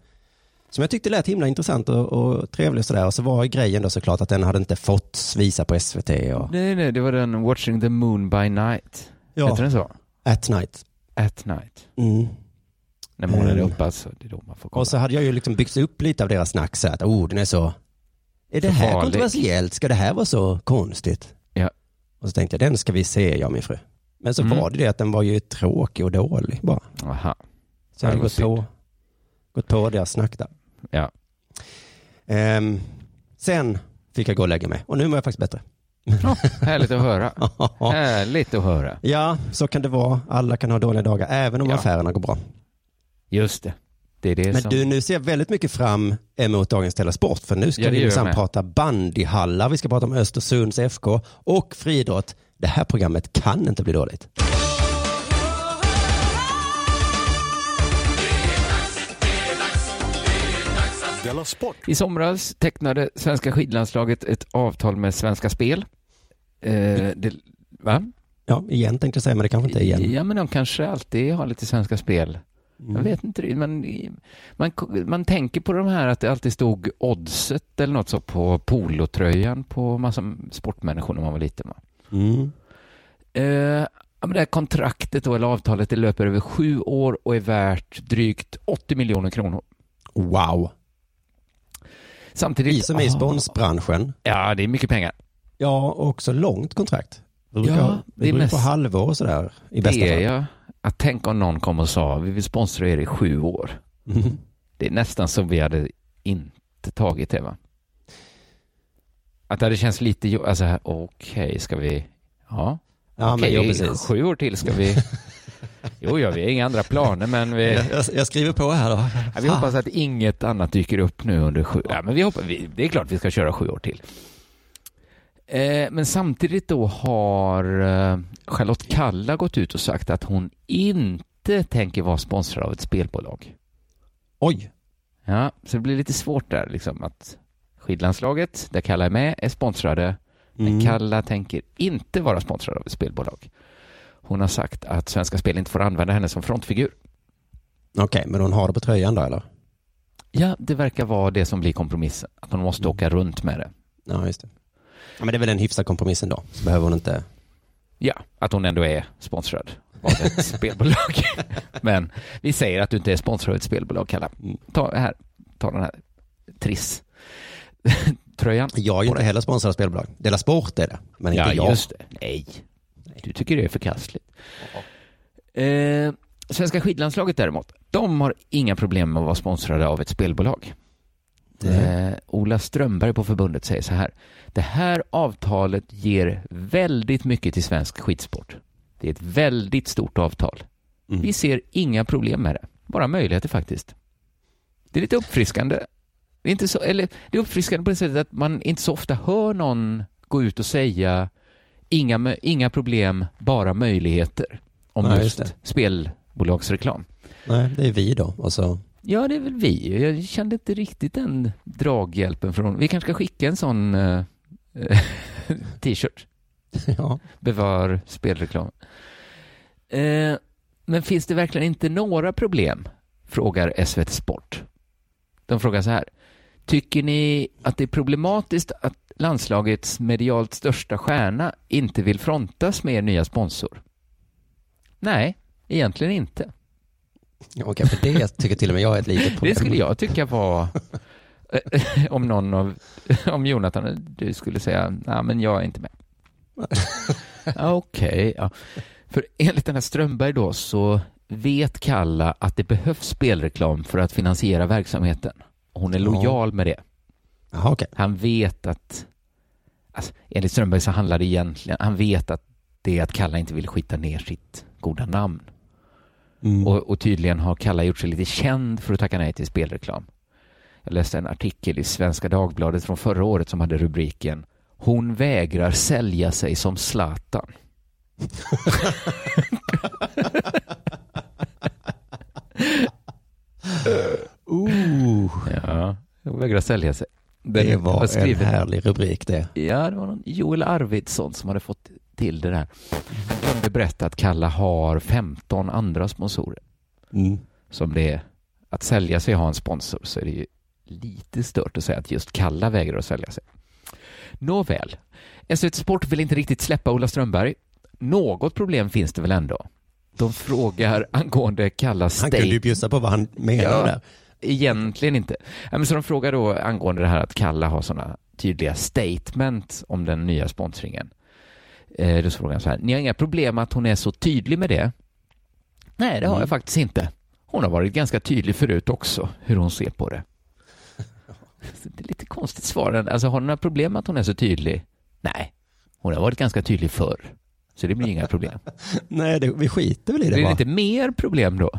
Speaker 3: som jag tyckte lät himla intressant och, och trevlig och sådär och så var grejen då såklart att den hade inte fått visa på SVT och
Speaker 2: Nej, nej, det var den Watching the Moon by Night. Heter den så?
Speaker 3: At Night.
Speaker 2: At Night.
Speaker 3: Mm.
Speaker 2: När månen är
Speaker 3: Mm.
Speaker 2: uppe alltså, det är då man får kolla.
Speaker 3: Och så hade jag ju liksom byggt upp lite av deras snack så här att oh den är så, är det
Speaker 2: Så
Speaker 3: här
Speaker 2: farlig.
Speaker 3: kontroversiellt? Ska det här vara så konstigt?
Speaker 2: Ja.
Speaker 3: Och så tänkte jag den ska vi se jag och min fru. Men så
Speaker 2: Mm.
Speaker 3: var det det att den var ju tråkig och dålig bara.
Speaker 2: Aha.
Speaker 3: Så jag
Speaker 2: Det
Speaker 3: hade
Speaker 2: var
Speaker 3: gått på, gått på deras snack där.
Speaker 2: Ja.
Speaker 3: Ehm, sen fick jag gå och lägga mig och nu mår jag faktiskt bättre.
Speaker 2: Ja, härligt att höra. Härligt att höra.
Speaker 3: ja, så kan det vara. Alla kan ha dåliga dagar, även om
Speaker 2: Ja.
Speaker 3: affärerna går bra.
Speaker 2: Just det. Det är det
Speaker 3: Men
Speaker 2: som...
Speaker 3: du, nu ser jag väldigt mycket fram emot dagens Della Sport, för nu ska
Speaker 2: Ja, det
Speaker 3: vi
Speaker 2: gör jag
Speaker 3: minsann
Speaker 2: med.
Speaker 3: prata bandyhallar, vi ska prata om Östersunds FK och friidrott. Det här programmet kan inte bli dåligt.
Speaker 1: Della Sport.
Speaker 2: I somras tecknade svenska skidlandslaget ett avtal med Svenska Spel. Eh, det... Va?
Speaker 3: Ja, igen tänkte jag säga, men det kanske inte är igen. Mm.
Speaker 2: Ja, men de kanske alltid har lite Svenska Spel. Jag vet inte, riktigt, men man, man tänker på de här att det alltid stod oddset eller något så på polotröjan på massa sportmänniskor när man var liten. Va?
Speaker 3: Mm.
Speaker 2: Eh, ja, men det här kontraktet då, eller avtalet det löper över sju år och är värt drygt 80 miljoner kronor.
Speaker 3: Wow.
Speaker 2: Samtidigt...
Speaker 3: Vi som är i
Speaker 2: Ah,
Speaker 3: sponsbranschen,
Speaker 2: Ja, det är mycket pengar.
Speaker 3: ja, och också långt kontrakt. Det brukar,
Speaker 2: Ja,
Speaker 3: det
Speaker 2: det är
Speaker 3: brukar
Speaker 2: mest-
Speaker 3: på halvår och sådär, i bästa
Speaker 2: det är
Speaker 3: fall.
Speaker 2: jag. Att tänka om någon kom och sa vi vill sponsra er i sju år.
Speaker 3: Mm.
Speaker 2: Det är nästan som vi hade inte tagit det va? Att det hade känts lite, jo- alltså här, okej, ska vi, ja,
Speaker 3: Ja,
Speaker 2: okej,
Speaker 3: men, ja, precis.
Speaker 2: sju år till ska vi, jo, ja, vi har inga andra planer, men vi,
Speaker 3: Jag, jag, jag skriver på här då.
Speaker 2: Ja, vi hoppas att inget annat dyker upp nu under sju. Ja, men vi hoppas, vi, det är klart vi ska köra sju år till. Eh, men samtidigt då har eh, Charlotte Kalla gått ut och sagt att hon inte tänker vara sponsrad av ett spelbolag.
Speaker 3: Oj,
Speaker 2: Ja, så det blir lite svårt där liksom att skidlandslaget, där Kalla är med, är sponsrade.
Speaker 3: Mm.
Speaker 2: Men Kalla tänker inte vara sponsrad av ett spelbolag. Hon har sagt att Svenska Spel inte får använda henne som frontfigur.
Speaker 3: okej, men hon har det på tröjan då eller?
Speaker 2: Ja, det verkar vara det som blir kompromissen, att hon måste åka runt med det.
Speaker 3: Ja, just det. Ja, men det är väl en hyfsad kompromiss ändå, så behöver hon inte
Speaker 2: Ja, att hon ändå är sponsrad av ett spelbolag. Men vi säger att du inte är sponsrad av ett spelbolag, Kalle. Ta, här, ta den här Triss-tröjan.
Speaker 3: Jag är ju inte heller sponsrad av spelbolag. Dela Sport är det, men inte
Speaker 2: Ja,
Speaker 3: jag.
Speaker 2: just det. Nej, du tycker det är förkastligt. Eh, Svenska skidlandslaget däremot, de har inga problem med att vara sponsrade av ett spelbolag. Eh, Ola Strömberg på förbundet säger så här. Det här avtalet ger väldigt mycket till svensk skidsport. Det är ett väldigt stort avtal.
Speaker 3: Mm.
Speaker 2: Vi ser inga problem med det. Bara möjligheter faktiskt. Det är lite uppfriskande. Det är, inte så, eller, det är uppfriskande på det sättet att man inte så ofta hör någon gå ut och säga inga, mö- inga problem, bara möjligheter om
Speaker 3: Nej,
Speaker 2: just,
Speaker 3: just
Speaker 2: spelbolagsreklam.
Speaker 3: Nej, det är vi då. Och så,
Speaker 2: Ja, det är väl vi. Jag kände inte riktigt den draghjälpen från... Vi kanske ska skicka en sån eh, eh, t-shirt.
Speaker 3: ja.
Speaker 2: Bevar spelreklam. Eh, men finns det verkligen inte några problem? Frågar SVT Sport. De frågar så här. Tycker ni att det är problematiskt att landslagets medialt största stjärna inte vill frontas med er nya sponsor? Nej, egentligen inte.
Speaker 3: Ja, Okej, för det tycker till och med jag är ett litet problem.
Speaker 2: Det skulle jag tycka var eh, om någon av, om Jonathan, du skulle säga, nej men jag är inte med. Ja, Okej, ja. för enligt den här Strömberg då så vet Kalla att det behövs spelreklam för att finansiera verksamheten. Hon är
Speaker 3: Ja.
Speaker 2: lojal med det.
Speaker 3: Jaha, okej.
Speaker 2: Han vet att, alltså, enligt Strömberg så handlar det egentligen, han vet att det är att Kalla inte vill skita ner sitt goda namn.
Speaker 3: Mm.
Speaker 2: Och, och tydligen har Kalla gjort sig lite känd för att tacka nej till spelreklam. Jag läste en artikel i Svenska Dagbladet från förra året som hade rubriken Hon vägrar sälja sig som Zlatan.
Speaker 3: Ooh,
Speaker 2: Ja, hon vägrar sälja sig. Den
Speaker 3: det var en
Speaker 2: skriven-
Speaker 3: härlig rubrik det.
Speaker 2: Ja, det var någon Joel Arvidsson som hade fått till det där.
Speaker 3: Mm.
Speaker 2: Han kunde berätta att Kalla har 15 andra sponsorer.
Speaker 3: Mm.
Speaker 2: Som det är att sälja sig och ha en sponsor så är det ju lite stört att säga att just Kalla vägrar att sälja sig. Nåväl, SVT Sport vill inte riktigt släppa Ola Strömberg. Något problem finns det väl ändå? De frågar angående Kallas
Speaker 3: Han kunde
Speaker 2: state
Speaker 3: ju bjussa på vad han menade
Speaker 2: Ja.
Speaker 3: där.
Speaker 2: Egentligen inte. Ja, men så de frågar då angående det här att Kalla har sådana tydliga statement om den nya sponsringen. Eh, då så frågar han så här, ni har inga problem att hon är så tydlig med det? Nej, det har
Speaker 3: Mm.
Speaker 2: jag faktiskt inte. Hon har varit ganska tydlig förut också, hur hon ser på det. Det är lite konstigt svar. Alltså, har ni några problem att hon är så tydlig? Nej, hon har varit ganska tydlig förr. Så det blir inga problem.
Speaker 3: Nej, det, vi skiter väl i
Speaker 2: Det
Speaker 3: det,
Speaker 2: blir
Speaker 3: bara.
Speaker 2: det inte mer problem då?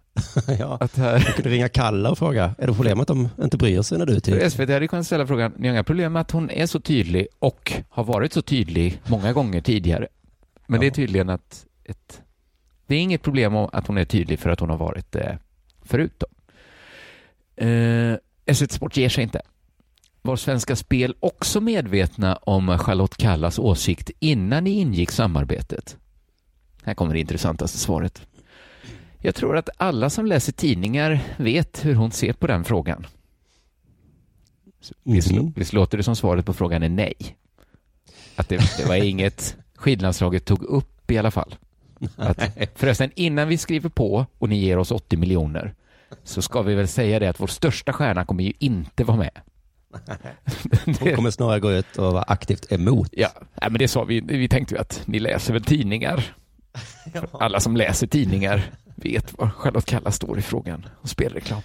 Speaker 3: ja.
Speaker 2: Att här...
Speaker 3: Du kunde ringa Kalla och fråga, är det problem att de inte bryr sig när du är
Speaker 2: För
Speaker 3: typ?
Speaker 2: SVT hade ju kunnat ställa frågan, ni har inga problem med att hon är så tydlig och har varit så tydlig många gånger tidigare. Men det är
Speaker 3: Ja.
Speaker 2: tydligen att ett, det är inget problem om att hon är tydlig för att hon har varit det förut. Då. Eh, SVT Sport ger sig inte. Var Svenska Spel också medvetna om Charlotte Kallas åsikt innan ni ingick samarbetet? Här kommer det intressantaste svaret. Jag tror att alla som läser tidningar vet hur hon ser på den frågan. Visst,
Speaker 3: Mhm.
Speaker 2: visst låter det som svaret på frågan är nej? Att det, det var inget skidlandslaget tog upp i alla fall. Att, förresten, innan vi skriver på och ni ger oss 80 miljoner så ska vi väl säga det att vår största stjärna kommer ju inte vara med.
Speaker 3: Hon kommer snarare gå ut och vara aktivt emot.
Speaker 2: Ja, nej, men det sa vi. Vi tänkte ju att ni läser väl tidningar. För Alla som läser tidningar vet vad Charlotte Kalla står i frågan om spelreklam.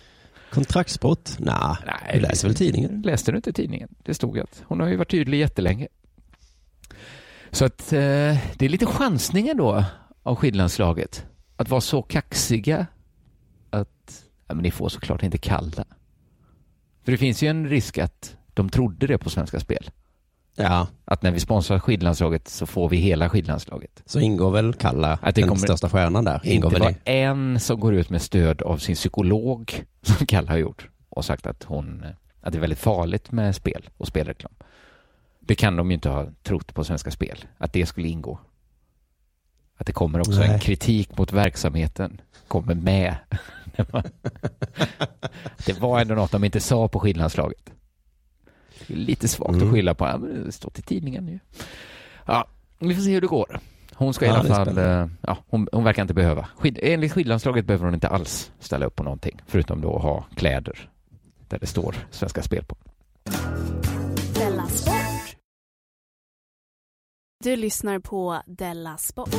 Speaker 3: Kontraktsbrott? Nah,
Speaker 2: Nej,
Speaker 3: du läser väl tidningen?
Speaker 2: Läste du inte tidningen? Det stod att hon har ju varit tydlig jättelänge. Så att eh, det är lite chansningar då av skidlandslaget. Att vara så kaxiga att ja, men ni får såklart inte kalla. För det finns ju en risk att de trodde det på Svenska Spel.
Speaker 3: Ja,
Speaker 2: Att när vi sponsrar skidlandslaget så får vi hela skidlandslaget.
Speaker 3: så ingår väl Kalla,
Speaker 2: Att det
Speaker 3: den
Speaker 2: kommer-
Speaker 3: största stjärnan där, ingår
Speaker 2: inte var
Speaker 3: väl det?
Speaker 2: en som går ut med stöd av sin psykolog som Kalle har gjort och sagt att, hon, eh, att det är väldigt farligt med spel och spelreklam. Det kan de ju inte ha trott på Svenska Spel, att det skulle ingå. Att det kommer också en
Speaker 3: Nej.
Speaker 2: kritik mot verksamheten, kommer med. När man- det var ändå något de inte sa på skidlandslaget. Det är lite svagt
Speaker 3: Mm.
Speaker 2: att skylla på, ja, men det står till tidningen ju. Ja, vi får se hur det går. Hon ska i
Speaker 3: Ja,
Speaker 2: alla
Speaker 3: det är
Speaker 2: fall,
Speaker 3: spännande.
Speaker 2: eh, ja, hon, hon verkar inte behöva. Skid, eh, enligt skidlandslaget behöver hon inte alls ställa upp på någonting, förutom då att ha kläder där det står Svenska Spel på.
Speaker 4: Della Sport. Du lyssnar på Della Sport.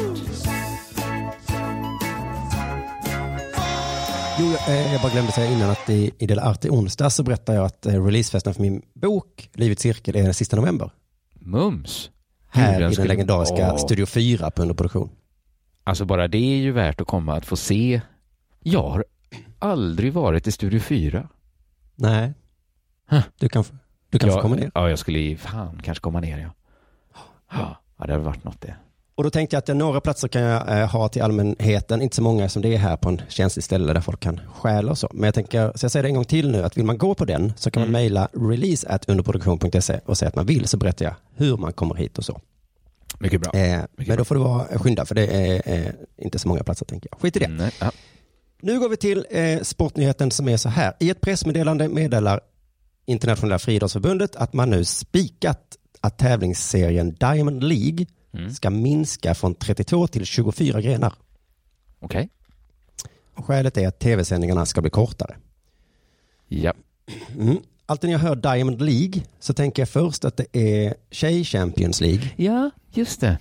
Speaker 3: Jo, jag, eh, jag bara glömde säga innan att i, i Del Arte i onsdag så berättade jag att eh, releasefesten för min bok Livets cirkel är den sista november.
Speaker 2: Mums! Gud,
Speaker 3: Här
Speaker 2: jag
Speaker 3: i den
Speaker 2: skulle-
Speaker 3: legendariska
Speaker 2: Åh.
Speaker 3: Studio 4 på underproduktion.
Speaker 2: Alltså bara det är ju värt att komma att få se. Jag har aldrig varit i Studio 4.
Speaker 3: Nej,
Speaker 2: Huh.
Speaker 3: du kan, du kan få
Speaker 2: jag,
Speaker 3: komma ner.
Speaker 2: Ja, jag skulle ju fan kanske komma ner ja. Ja, det hade varit något det.
Speaker 3: Och då tänkte jag att jag, några platser kan jag eh, ha till allmänheten, inte så många som det är här på en känslig ställe där folk kan stjäla och så. Men jag tänker, så jag säger det en gång till nu, att vill man gå på den så kan man
Speaker 2: Mm.
Speaker 3: mejla release@underproduktion.se och säga att man vill så berättar jag hur man kommer hit och så.
Speaker 2: Mycket bra.
Speaker 3: Eh, men då får du vara skynda för det är eh, inte så många platser tänker jag. Skit i det.
Speaker 2: Nej, mm, ja.
Speaker 3: Nu går vi till eh, sportnyheten som är så här. I ett pressmeddelande meddelar Internationella friidrottsförbundet att man nu spikat att tävlingsserien Diamond League
Speaker 2: Mm.
Speaker 3: ska minska från 32 till 24 grenar.
Speaker 2: Okej.
Speaker 3: Och skälet är att tv-sändningarna ska bli kortare.
Speaker 2: Ja.
Speaker 3: Mm. Alltid när jag hör Diamond League så tänker jag först att det är tjej Champions League.
Speaker 2: ja, just det.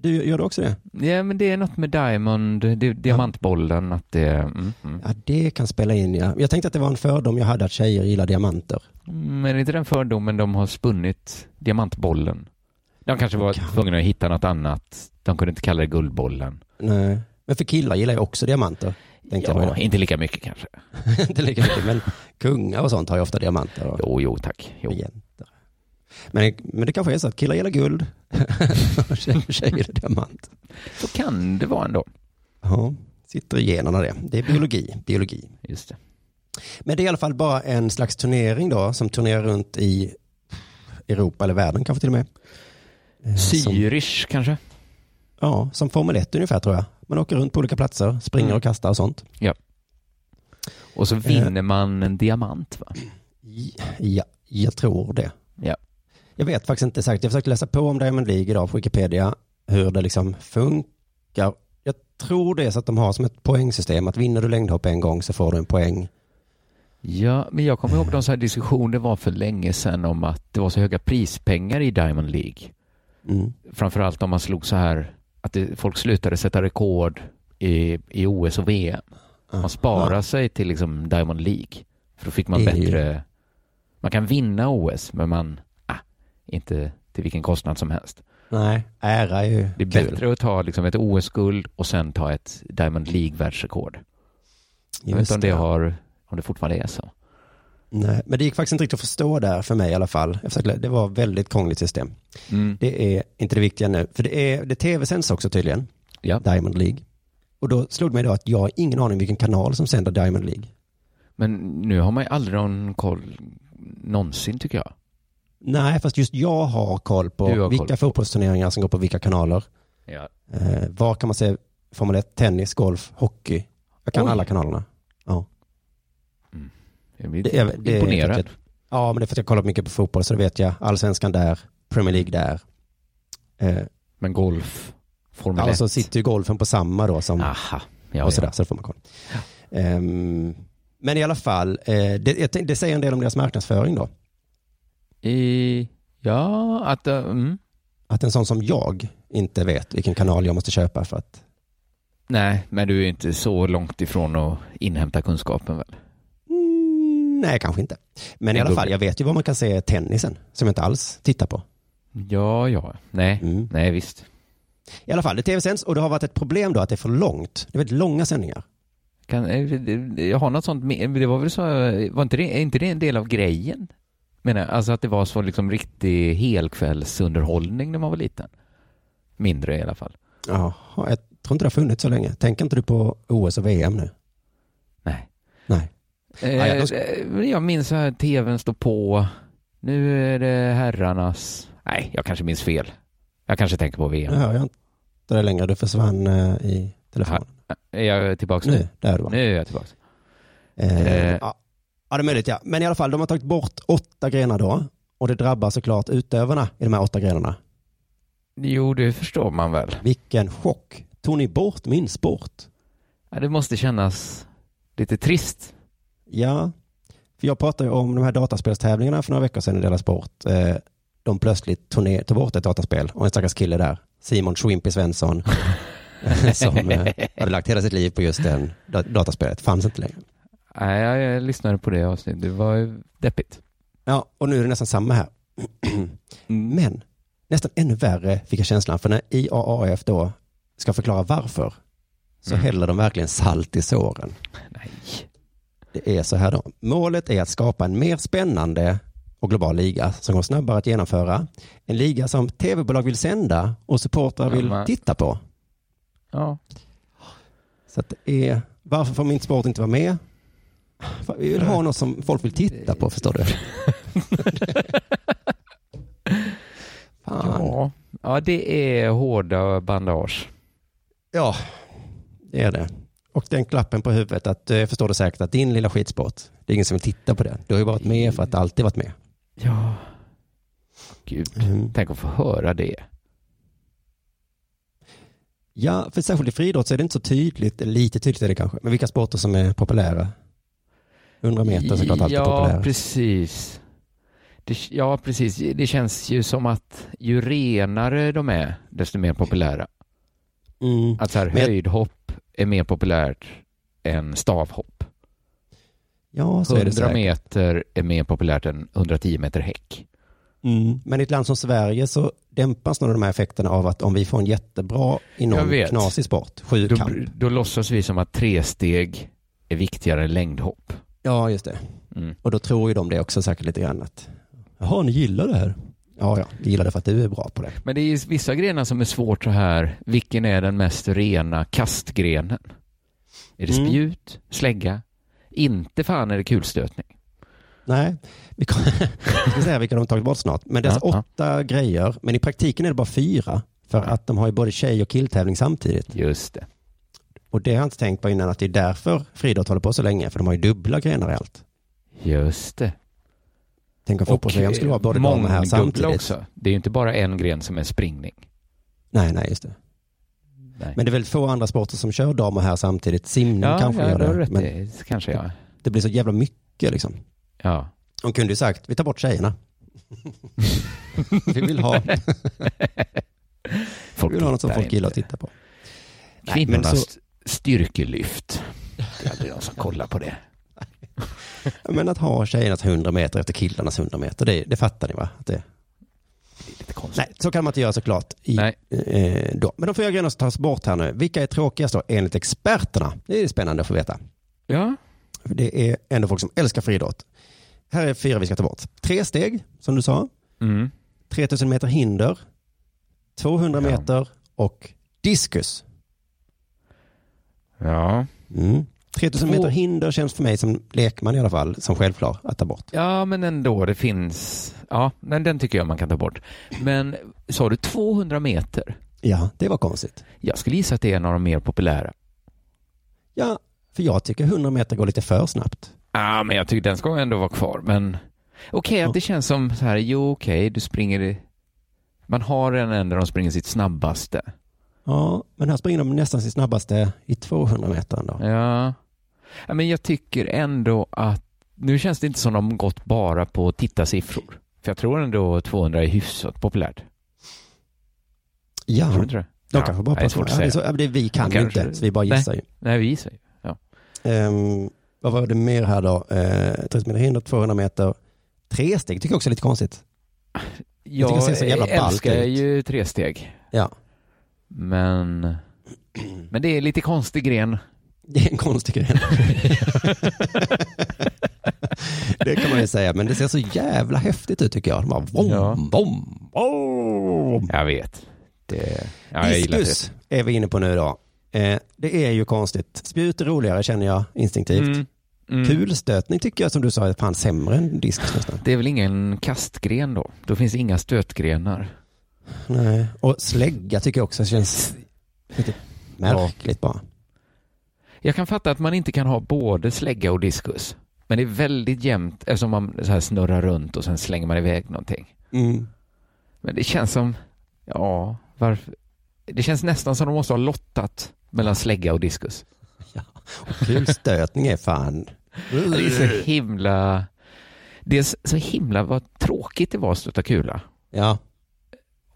Speaker 3: Du, gör du också det?
Speaker 2: Ja, men det är något med Diamond, det, diamantbollen, att det... Mm, mm.
Speaker 3: Ja, det kan spela in ja. Jag tänkte att det var en fördom jag hade att tjejer gillar diamanter.
Speaker 2: Mm, Men är det inte den fördomen de har spunnit diamantbollen? De kanske var tvungna att hitta något annat. De kunde inte kalla det guldbollen.
Speaker 3: Nej. Men för killar gillar jag också diamanter. Tänkte jag
Speaker 2: Ja,
Speaker 3: då.
Speaker 2: inte lika mycket kanske.
Speaker 3: inte lika mycket, men kungar och sånt har ju ofta diamanter och
Speaker 2: Jo, jo, tack. Jo.
Speaker 3: regenter. Men, men det kanske är så att killar gillar guld och tjejer tjejer gillar diamant.
Speaker 2: Så kan det vara ändå.
Speaker 3: Ja, sitter i generna det. Det är biologi, biologi.
Speaker 2: Just det.
Speaker 3: Men det är i alla fall bara en slags turnering då som turnerar runt i Europa eller världen kanske till och med. Eh, Som,
Speaker 2: Syrish kanske?
Speaker 3: ja, som Formel 1 ungefär tror jag. Man åker runt på olika platser, springer
Speaker 2: Mm.
Speaker 3: och kastar och sånt.
Speaker 2: Och
Speaker 3: Eh.
Speaker 2: så vinner man en diamant, va?
Speaker 3: Ja, jag tror det.
Speaker 2: Ja.
Speaker 3: Jag vet faktiskt inte säkert. Jag försökte läsa på om Diamond League idag på Wikipedia, hur det liksom funkar. Jag tror det är så att de har som ett poängsystem, att vinner du längdhopp en gång så får du en poäng.
Speaker 2: Ja, men jag kommer ihåg de så här diskussioner det var för länge sedan om att det var så höga prispengar i Diamond League.
Speaker 3: Mm.
Speaker 2: Framförallt om man slog så här att det, folk slutade sätta rekord i, i OS och VM. Man sparar sig till liksom Diamond League. För då fick man
Speaker 3: Det är ju-
Speaker 2: bättre... Man kan vinna OS, men man... Ah, inte till vilken kostnad som helst.
Speaker 3: Nej, ära är ju
Speaker 2: Det är
Speaker 3: kul.
Speaker 2: bättre att ta liksom ett OS-guld och sen ta ett Diamond League-världsrekord. Jag vet
Speaker 3: Just
Speaker 2: inte om det, har, om det fortfarande är så.
Speaker 3: Nej, men det gick faktiskt inte riktigt att förstå där för mig i alla fall. Jag försökte, det var ett väldigt krångligt system. Det är inte det viktiga nu, för det, är, det tv-sänds också tydligen,
Speaker 2: Ja.
Speaker 3: Diamond League. Och då slog det mig då att jag har ingen aning vilken kanal som sänder Diamond League.
Speaker 2: Men nu har man ju aldrig någon koll någonsin tycker jag.
Speaker 3: Nej, fast just jag har koll på
Speaker 2: Du har koll.
Speaker 3: vilka fotbollsturneringar som går på vilka kanaler.
Speaker 2: Ja.
Speaker 3: Eh, var kan man se Formel 1, tennis, golf, hockey? Jag kan
Speaker 2: Oj.
Speaker 3: alla kanalerna. Ja.
Speaker 2: Jag blir
Speaker 3: Det är- det är
Speaker 2: imponerad.
Speaker 3: enkelt. ja, men det är för att jag kollar mycket på fotboll så det vet jag. Allsvenskan där, Premier League där. Eh,
Speaker 2: Men golf, Formel 1.
Speaker 3: alltså sitter ju golfen på samma då som
Speaker 2: Aha. Ah, Ja,
Speaker 3: och sådär, så då får man koll. Ehm, men i alla fall, eh, det, jag tänkte- det säger en del om deras marknadsföring då.
Speaker 2: ja. I, ja, att... äh, Mm.
Speaker 3: Att en sån som jag inte vet vilken kanal jag måste köpa för att
Speaker 2: Nej, men du är inte så långt ifrån att inhämta kunskapen väl?
Speaker 3: Mm, nej, kanske inte. Men i
Speaker 2: En
Speaker 3: alla fall,
Speaker 2: bubbla.
Speaker 3: jag vet ju var man kan se tennisen, som jag inte alls tittar på.
Speaker 2: Ja, ja. Nej,
Speaker 3: Mm.
Speaker 2: nej visst.
Speaker 3: I alla fall, det tv-sänds och det har varit ett problem då att det är för långt. Det är väldigt långa sändningar.
Speaker 2: Kan, eh, jag har något sånt, med- det var väl så, var inte det, är inte det en del av grejen? Menar jag, alltså att det var så liksom riktig helkvällsunderhållning när man var liten. Mindre i alla fall.
Speaker 3: Jaha, jag tror inte det har funnits så länge. Tänker inte du på OS och VM nu?
Speaker 2: Nej.
Speaker 3: Nej.
Speaker 2: Eh,
Speaker 3: Ja, ja, då ska-
Speaker 2: eh, Jag minns så här, tvn står på, nu är det herrarnas, nej, jag kanske minns fel. Jag kanske tänker på
Speaker 3: Nu
Speaker 2: VM.
Speaker 3: hör jag inte det längre. Du försvann eh, i telefonen.
Speaker 2: Är jag tillbaka nu?
Speaker 3: Nu, där du var.
Speaker 2: Nu är jag tillbaka.
Speaker 3: Eh,
Speaker 2: Eh.
Speaker 3: ja. ja, det är möjligt ja. Men i alla fall, de har tagit bort åtta grenar då. Och det drabbar såklart utövarna i de här åtta grenarna.
Speaker 2: Jo, det förstår man väl.
Speaker 3: Vilken chock. Tog ni bort min sport?
Speaker 2: Ja, det måste kännas lite trist.
Speaker 3: Ja, för jag pratade ju om de här dataspelstävlingarna för några veckor sedan i Della Sport. Eh, De plötsligt tog, ner, tog bort ett dataspel och en stackars kille där, Simon Schwimpy Svensson, som eh, hade lagt hela sitt liv på just den dat- dataspelet. Fanns inte längre.
Speaker 2: Nej, jag, jag lyssnade på det avsnittet. Det var ju deppigt.
Speaker 3: Ja, och nu är det nästan samma här. Men nästan ännu värre fick jag känslan, för när IAAF då ska förklara varför så
Speaker 2: Mm.
Speaker 3: häller de verkligen salt i såren.
Speaker 2: Nej.
Speaker 3: Det är så här då. Målet är att skapa en mer spännande och global liga som går snabbare att genomföra. En liga som tv-bolag vill sända och supportrar vill
Speaker 2: Ja, men-
Speaker 3: titta på.
Speaker 2: Ja.
Speaker 3: Så att det är, varför får min sport inte vara med? För Vi vill ha något som folk vill titta på, förstår du? Fan.
Speaker 2: Ja. ja, det är hårda bandage.
Speaker 3: Ja, det är det. Och den klappen på huvudet att eh, jag förstår det säkert att din lilla skitsport, det är ingen som vill titta på den. Du har ju varit med för att du alltid varit med.
Speaker 2: Ja. Gud,
Speaker 3: Mm.
Speaker 2: tänk att få höra det.
Speaker 3: Ja, för särskilt i friidrott så är det inte så tydligt, eller lite tydligt är det kanske, men vilka sporter som är populära. 100 meter är såklart alltid
Speaker 2: ja,
Speaker 3: populära.
Speaker 2: Precis. Det, ja, precis. Det känns ju som att ju renare de är, desto mer populära.
Speaker 3: Mm.
Speaker 2: Att så här,
Speaker 3: Men-
Speaker 2: höjdhopp är mer populärt än stavhopp.
Speaker 3: Ja, så är det
Speaker 2: 100
Speaker 3: säkert.
Speaker 2: meter är mer populärt än 110 meter häck.
Speaker 3: Mm. Men i ett land som Sverige så dämpas nog de här effekterna av att om vi får en jättebra i
Speaker 2: Jag
Speaker 3: någon
Speaker 2: vet.
Speaker 3: knasig sport,
Speaker 2: Då,
Speaker 3: sjukamp.
Speaker 2: då låtsas vi som att tresteg är viktigare än längdhopp.
Speaker 3: Ja, just det.
Speaker 2: Mm.
Speaker 3: Och då tror ju de det också säkert lite grann att, jaha, ni gillar det här. Ja, ja, vi gillar det för att du är bra på det.
Speaker 2: Men det är ju vissa grenar som är svårt så här. Vilken är den mest rena kastgrenen? Är det
Speaker 3: Mm.
Speaker 2: spjut, slägga? Inte fan är det kulstötning.
Speaker 3: Nej, vi kan- jag ska säga vilka de har tagit bort snart. Men det är alltså
Speaker 2: Ja,
Speaker 3: åtta grejer, men i praktiken är det bara fyra. För att de har ju både tjej och killtävling samtidigt.
Speaker 2: Just det.
Speaker 3: Och det har jag inte tänkt på innan att det är därför friidrott håller på så länge, för de har ju dubbla grenar i allt.
Speaker 2: Just det.
Speaker 3: Tänk om fotbolls-VM skulle vara både dam och här
Speaker 2: mångdubbla
Speaker 3: samtidigt.
Speaker 2: också. Det är ju inte bara en gren som är springning.
Speaker 3: Nej, nej, just det.
Speaker 2: Nej.
Speaker 3: Men det är väl få andra sporter som kör dam och här samtidigt. Simning
Speaker 2: ja,
Speaker 3: kanske
Speaker 2: ja,
Speaker 3: gör
Speaker 2: du har
Speaker 3: det.
Speaker 2: rätt
Speaker 3: Men
Speaker 2: i. Kanske ja.
Speaker 3: det blir så jävla mycket liksom.
Speaker 2: ja.
Speaker 3: De kunde ju sagt, vi tar bort tjejerna. vi vill ha, vi
Speaker 2: Folk
Speaker 3: vill ha något som
Speaker 2: tittar
Speaker 3: folk gillar att
Speaker 2: inte.
Speaker 3: titta på. Nej, men
Speaker 2: Kvinnornas
Speaker 3: så-
Speaker 2: styrkelyft. Det är aldrig någon som kollar på det.
Speaker 3: Men att ha tjejernas 100 meter efter killarnas 100 meter, det, det fattar ni va? Att det,
Speaker 2: Det är lite konstigt.
Speaker 3: nej, så kan man inte göra såklart. I,
Speaker 2: Nej.
Speaker 3: Eh, då. Men de fyra grejerna som tas bort här nu, vilka är tråkigast då enligt experterna? Det är spännande att få veta.
Speaker 2: Ja.
Speaker 3: För Det är ändå folk som älskar friidrott. Här är fyra vi ska ta bort. Tre steg, som du sa.
Speaker 2: Mm.
Speaker 3: 3000 meter hinder, 200
Speaker 2: Ja.
Speaker 3: meter och diskus.
Speaker 2: Ja.
Speaker 3: Mm. 3000 meter
Speaker 2: Två-
Speaker 3: hinder känns för mig som lekman i alla fall som självklar att ta bort.
Speaker 2: Ja, men ändå, det finns. Ja, men den tycker jag man kan ta bort. Men sa du 200 meter?
Speaker 3: Ja, det var konstigt.
Speaker 2: Jag skulle gissa att det är en av de mer populära.
Speaker 3: Ja, för jag tycker 100 meter går lite för snabbt.
Speaker 2: Ja, men jag tycker den ska ändå vara kvar. Men okej, att det känns som så här, jo okej, du springer i... Man har en enda de springer sitt snabbaste.
Speaker 3: Ja, men här springer de nästan sin snabbaste i 200 meter ändå.
Speaker 2: Ja. ja, men jag tycker ändå att nu känns det inte som de gått bara på tittarsiffror. För jag tror ändå 200 är hyfsat populärt.
Speaker 3: Ja,
Speaker 2: Tror du inte det?
Speaker 3: de
Speaker 2: Ja,
Speaker 3: kanske bara
Speaker 2: det är svårt att
Speaker 3: passar. Ja, det är
Speaker 2: säga.
Speaker 3: så, ja, det är vi kan
Speaker 2: De
Speaker 3: ju
Speaker 2: kanske-
Speaker 3: inte, så vi bara
Speaker 2: Nej.
Speaker 3: gissar ju.
Speaker 2: Nej, vi gissar ju.
Speaker 3: Ehm, vad var det mer här då? Eh, 30 meter hinder, 200 meter. Tre steg tycker jag också är lite konstigt. Jag tycker det ser så jävla ballt
Speaker 2: älskar
Speaker 3: ut.
Speaker 2: ju tresteg.
Speaker 3: Ja,
Speaker 2: Men, men det är lite konstig gren.
Speaker 3: det är en konstig grej. det kan man ju säga, men det ser så jävla häftigt ut tycker jag. De bara vom,
Speaker 2: Ja.
Speaker 3: vom, vom.
Speaker 2: Jag vet. Det, ja, jag gillar det.
Speaker 3: Diskus är vi inne på nu då. Eh, det är ju konstigt. Spjut är roligare känner jag instinktivt.
Speaker 2: Mm. Mm.
Speaker 3: Kulstötning tycker jag som du sa är fan sämre än diskus nästan.
Speaker 2: Det är väl ingen kastgren då? Då finns inga stötgrenar.
Speaker 3: Nej. Och slägga tycker jag också känns lite märkligt bara.
Speaker 2: Jag kan fatta att man inte kan ha både slägga och diskus. Men det är väldigt jämnt eftersom man så här snurrar runt och sen slänger man iväg någonting.
Speaker 3: Mm.
Speaker 2: Men det känns som, ja, varför? Det känns nästan som de måste ha lottat mellan slägga och diskus.
Speaker 3: Kulstötning är fan...
Speaker 2: Det är så himla, det är så himla vad tråkigt det var att stöta kula.
Speaker 3: Ja,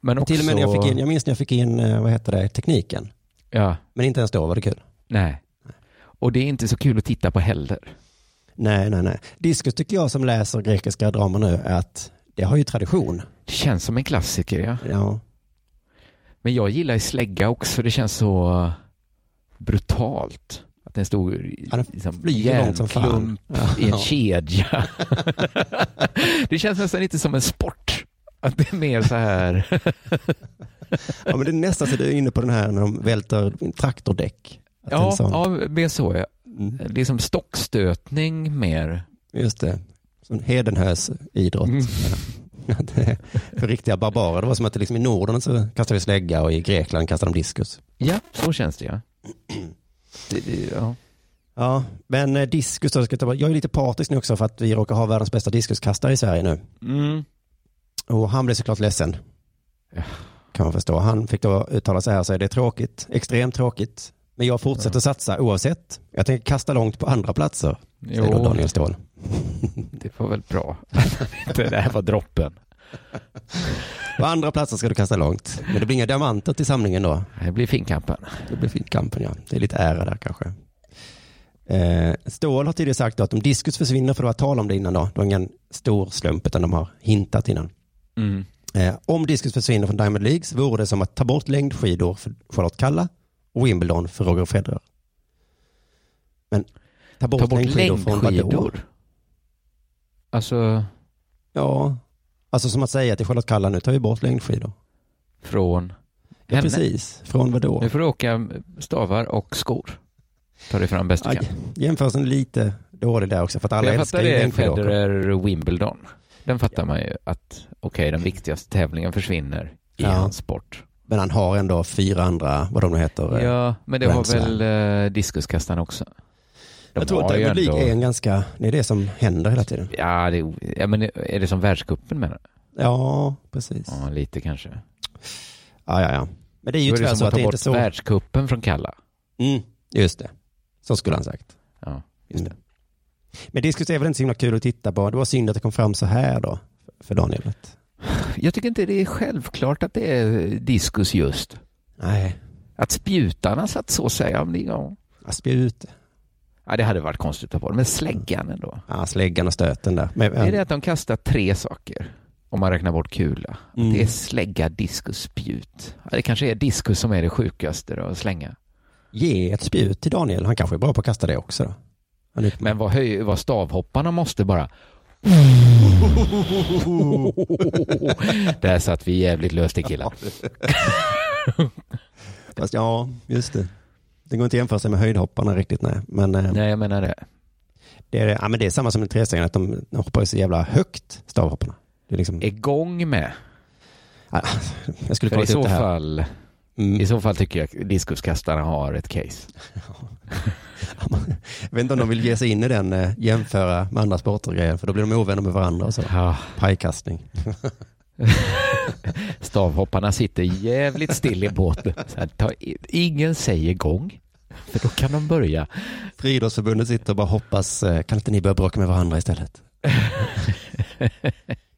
Speaker 2: Men också,
Speaker 3: till och med när jag fick in, jag minns när jag fick in, eh, vad heter det, tekniken.
Speaker 2: Ja,
Speaker 3: Men inte ens då var det kul.
Speaker 2: nej. Och det är inte så kul att titta på heller.
Speaker 3: Nej, nej, nej. Diskus tycker jag som läser grekiska dramer nu är att det har ju tradition.
Speaker 2: Det känns som en klassiker, ja.
Speaker 3: Ja,
Speaker 2: Men jag gillar ju slägga också. Det känns så brutalt. Att den stod
Speaker 3: Ja, den
Speaker 2: liksom,
Speaker 3: flyger långt som fan.
Speaker 2: järnklump i en kedja. det känns nästan inte som en sport. Att det är mer så här.
Speaker 3: ja men det är nästan så du är inne på den här när de välter traktordäck. Att det är en
Speaker 2: Ja,
Speaker 3: sån-
Speaker 2: ja mer så. Ja.
Speaker 3: Mm,
Speaker 2: Det är som stockstötning mer.
Speaker 3: Just det. Som hedenhös idrott.
Speaker 2: Mm.
Speaker 3: Att det är För riktiga barbarer. Det var som att det liksom i Norden så kastar vi slägga och i Grekland kastar de diskus.
Speaker 2: Ja, så känns det ja. Det, det, ja.
Speaker 3: Ja, men eh, diskus då. ska jag ta- Jag är lite partisk nu också för att vi råkar ha världens bästa diskuskastare i Sverige nu.
Speaker 2: Mm.
Speaker 3: Och han blev såklart ledsen.
Speaker 2: Ja.
Speaker 3: Kan man förstå. Han fick då uttala sig här och säga det är tråkigt, extremt tråkigt. Men jag fortsätter satsa oavsett. Jag tänker kasta långt på andra platser, säger då
Speaker 2: Jo,
Speaker 3: Daniel Ståhl.
Speaker 2: det var väl bra. det här var droppen.
Speaker 3: På andra platser ska du kasta långt. Men det blir inga diamanter till samlingen då.
Speaker 2: Det blir finkampen.
Speaker 3: Det blir fint kampen ja. Det är lite ära där kanske. Eh, Ståhl har tidigare sagt då att om diskus försvinner, för det var tal om det innan då, det var ingen stor slump utan de har hintat innan.
Speaker 2: Mm.
Speaker 3: Eh, om diskus försvinner från Diamond League så vore det som att ta bort längdskidor för Charlotte Kalla och Wimbledon för Roger Federer. Men ta bort,
Speaker 2: Ta bort
Speaker 3: längdskidor, från vadå?
Speaker 2: längdskidor. Alltså
Speaker 3: Ja, alltså som att säga till Charlotte Kalla nu tar vi bort längdskidor.
Speaker 2: från
Speaker 3: Ja,
Speaker 2: henne.
Speaker 3: precis, från vadå?
Speaker 2: Nu får du åka stavar och skor. Ta dig fram bäst du
Speaker 3: Ja,
Speaker 2: kan.
Speaker 3: jämförelsen lite dålig där också för att alla
Speaker 2: Jag
Speaker 3: älskar
Speaker 2: fattar
Speaker 3: ju
Speaker 2: det,
Speaker 3: längdskidåkare.
Speaker 2: Federer Wimbledon. Den fattar man ju att okej, den viktigaste tävlingen försvinner i
Speaker 3: Ja.
Speaker 2: hans sport.
Speaker 3: Men han har ändå fyra andra, vad de nu heter. eh,
Speaker 2: Ja, men det
Speaker 3: Grand
Speaker 2: var
Speaker 3: Slam.
Speaker 2: väl eh, diskuskastarna också. De
Speaker 3: jag tror att
Speaker 2: har ju
Speaker 3: Diamond League
Speaker 2: ändå-
Speaker 3: är en ganska, det är det som händer hela tiden.
Speaker 2: Ja, det, är- ja, men är det som världscupen menar du?
Speaker 3: Ja, precis.
Speaker 2: Ja, lite kanske.
Speaker 3: Ja, ja, ja. Men det är ju
Speaker 2: Då är
Speaker 3: tyvärr
Speaker 2: det
Speaker 3: så
Speaker 2: som
Speaker 3: att
Speaker 2: att
Speaker 3: det
Speaker 2: ta
Speaker 3: är inte
Speaker 2: bort
Speaker 3: så.
Speaker 2: världscupen från Kalla.
Speaker 3: Mm, just det. Så skulle han sagt.
Speaker 2: Ja,
Speaker 3: Just det. Men diskus är väl inte så himla kul att titta på. Det var synd att det kom fram så här då, för Daniel. Att-
Speaker 2: Jag tycker inte det är självklart att det är diskus just.
Speaker 3: Nej,
Speaker 2: Att spjutarna satt så säger jag. men Ja,
Speaker 3: spjut,
Speaker 2: Ja, det hade varit konstigt att ta bort, men släggan ändå.
Speaker 3: ja, släggan och stöten där. Men,
Speaker 2: Är det att de kastar tre saker? Om man räknar bort kula.
Speaker 3: Mm.
Speaker 2: Det är slägga, diskus, spjut. Ja, det kanske är diskus som är det sjukaste då, att slänga.
Speaker 3: Ge ett spjut till Daniel. Han kanske är bra på att kasta det också. Då. Han är-
Speaker 2: Men vad, höj, vad stavhopparna måste bara... Där satt vi jävligt löst i killar.
Speaker 3: Fast, ja, just det. Det går inte att jämföra sig med höjdhopparna riktigt, nej. Men, eh,
Speaker 2: Nej, jag menar det.
Speaker 3: Det, är, ja, men det är samma som med trestegen, att de, de hoppar ju så jävla högt, stavhopparna. Det är liksom,
Speaker 2: Är gång med.
Speaker 3: Ah, jag skulle
Speaker 2: För
Speaker 3: kolla
Speaker 2: i
Speaker 3: upp
Speaker 2: så,
Speaker 3: det här.
Speaker 2: fall,
Speaker 3: Mm.
Speaker 2: I så fall tycker jag diskuskastarna har ett case.
Speaker 3: Jag vet inte om de vill ge sig in i den, eh, jämföra med andra sporter och grejer, för då blir de ovänner med varandra och så.
Speaker 2: Ja,
Speaker 3: Pajkastning.
Speaker 2: stavhopparna sitter jävligt still i båten. Så här, ta, ingen säger gång, för då kan de börja.
Speaker 3: Friidrottsförbundet sitter och bara hoppas, eh, kan inte ni börja bråka med varandra istället?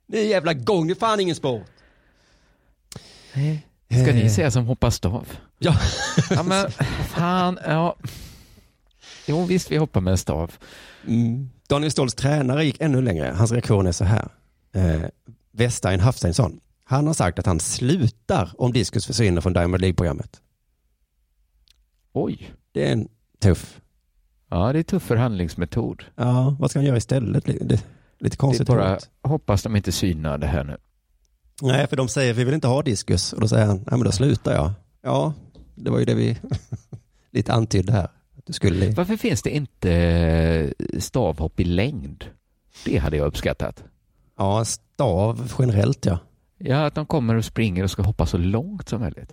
Speaker 3: Ni är jävla gång, det är fan ingen sport.
Speaker 2: Ska
Speaker 3: Eh,
Speaker 2: ni säga som hoppar stav?
Speaker 3: Ja.
Speaker 2: Ja, men fan, ja. Jo, visst, vi hoppar med en stav.
Speaker 3: Mm. Daniel Ståhls tränare gick ännu längre. Hans reaktion är så här. Eh, Westein Hafsteinsson. Han har sagt att han slutar om diskus försvinner från Diamond League-programmet.
Speaker 2: Oj.
Speaker 3: Det är en tuff.
Speaker 2: Ja, det är tuff förhandlingsmetod.
Speaker 3: Ja, vad ska han göra istället? Det, det, lite
Speaker 2: Det är
Speaker 3: konstigt.
Speaker 2: bara,
Speaker 3: ut.
Speaker 2: hoppas de inte synar det här nu.
Speaker 3: Nej, för de säger vi vill inte ha diskus. Och då säger han, nej men då slutar jag. Ja, det var ju det vi lite antydde här. Att du skulle...
Speaker 2: Varför finns det inte eh, stavhopp i längd? Det hade jag uppskattat.
Speaker 3: Ja, stav generellt ja.
Speaker 2: Ja, att de kommer och springer och ska hoppa så långt som möjligt.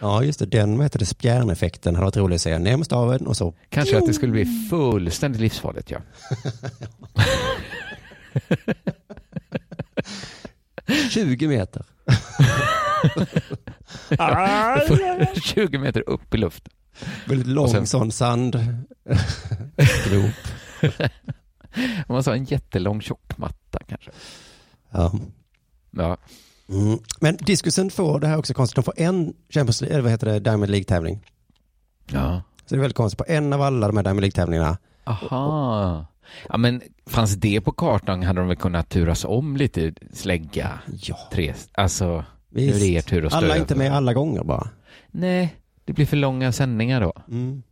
Speaker 3: Ja, just det. Den, vad heter det, spjärneffekten hade varit rolig att säga. Ner med staven och så.
Speaker 2: Kanske att det skulle bli fullständigt livsfarligt, ja.
Speaker 3: Aj, 20 meter.
Speaker 2: 20 meter upp i luften.
Speaker 3: Väldigt lång
Speaker 2: Och sen-
Speaker 3: sån sand. Grop.
Speaker 2: Om man sa en jättelång tjock matta kanske.
Speaker 3: ja.
Speaker 2: Ja.
Speaker 3: Mm. Men Diskusen får, det här är också konstigt, de får en Champions League, eller vad heter det, Diamond League-tävling.
Speaker 2: Ja.
Speaker 3: Så det är väldigt konstigt, på en av alla de här Diamond League-tävlingarna.
Speaker 2: Aha. Ja, men fanns det på kartan hade de väl kunnat turas om lite, slägga
Speaker 3: Ja,
Speaker 2: tre, alltså nu är
Speaker 3: visst.
Speaker 2: det er tur att stå
Speaker 3: Alla är
Speaker 2: över.
Speaker 3: inte med alla gånger bara.
Speaker 2: Nej, det blir för långa sändningar då.
Speaker 3: Mm.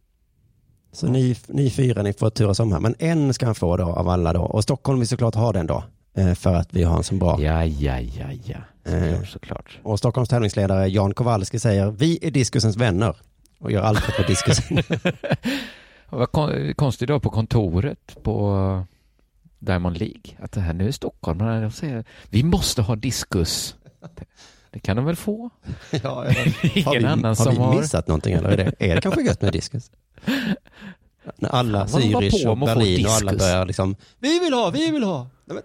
Speaker 3: Så ni, ni fyra, ni får turas om här. Men en ska han få då av alla då. Och Stockholm vill såklart ha den då. eh, För att vi har en så bra.
Speaker 2: Ja, ja, ja, ja.
Speaker 3: Eh.
Speaker 2: Såklart, såklart.
Speaker 3: Och Stockholms tävlingsledare Jan Kowalski säger, vi är diskusens vänner. Och gör allt för att vara diskusen.
Speaker 2: Vad kon- konstigt då på kontoret på Diamond League. Att det här nu är Stockholm. De säger vi måste ha diskus. Det- Det kan de väl få?
Speaker 3: ja,
Speaker 2: Ingen annan
Speaker 3: har
Speaker 2: som
Speaker 3: vi
Speaker 2: har...
Speaker 3: missat någonting eller? Är det, är det kanske gött med diskus? När alla
Speaker 2: Fan, vad de var på
Speaker 3: Zürich och
Speaker 2: om att få
Speaker 3: Berlin och alla
Speaker 2: diskus.
Speaker 3: börjar liksom, vi vill ha, vi vill ha. Nej, men-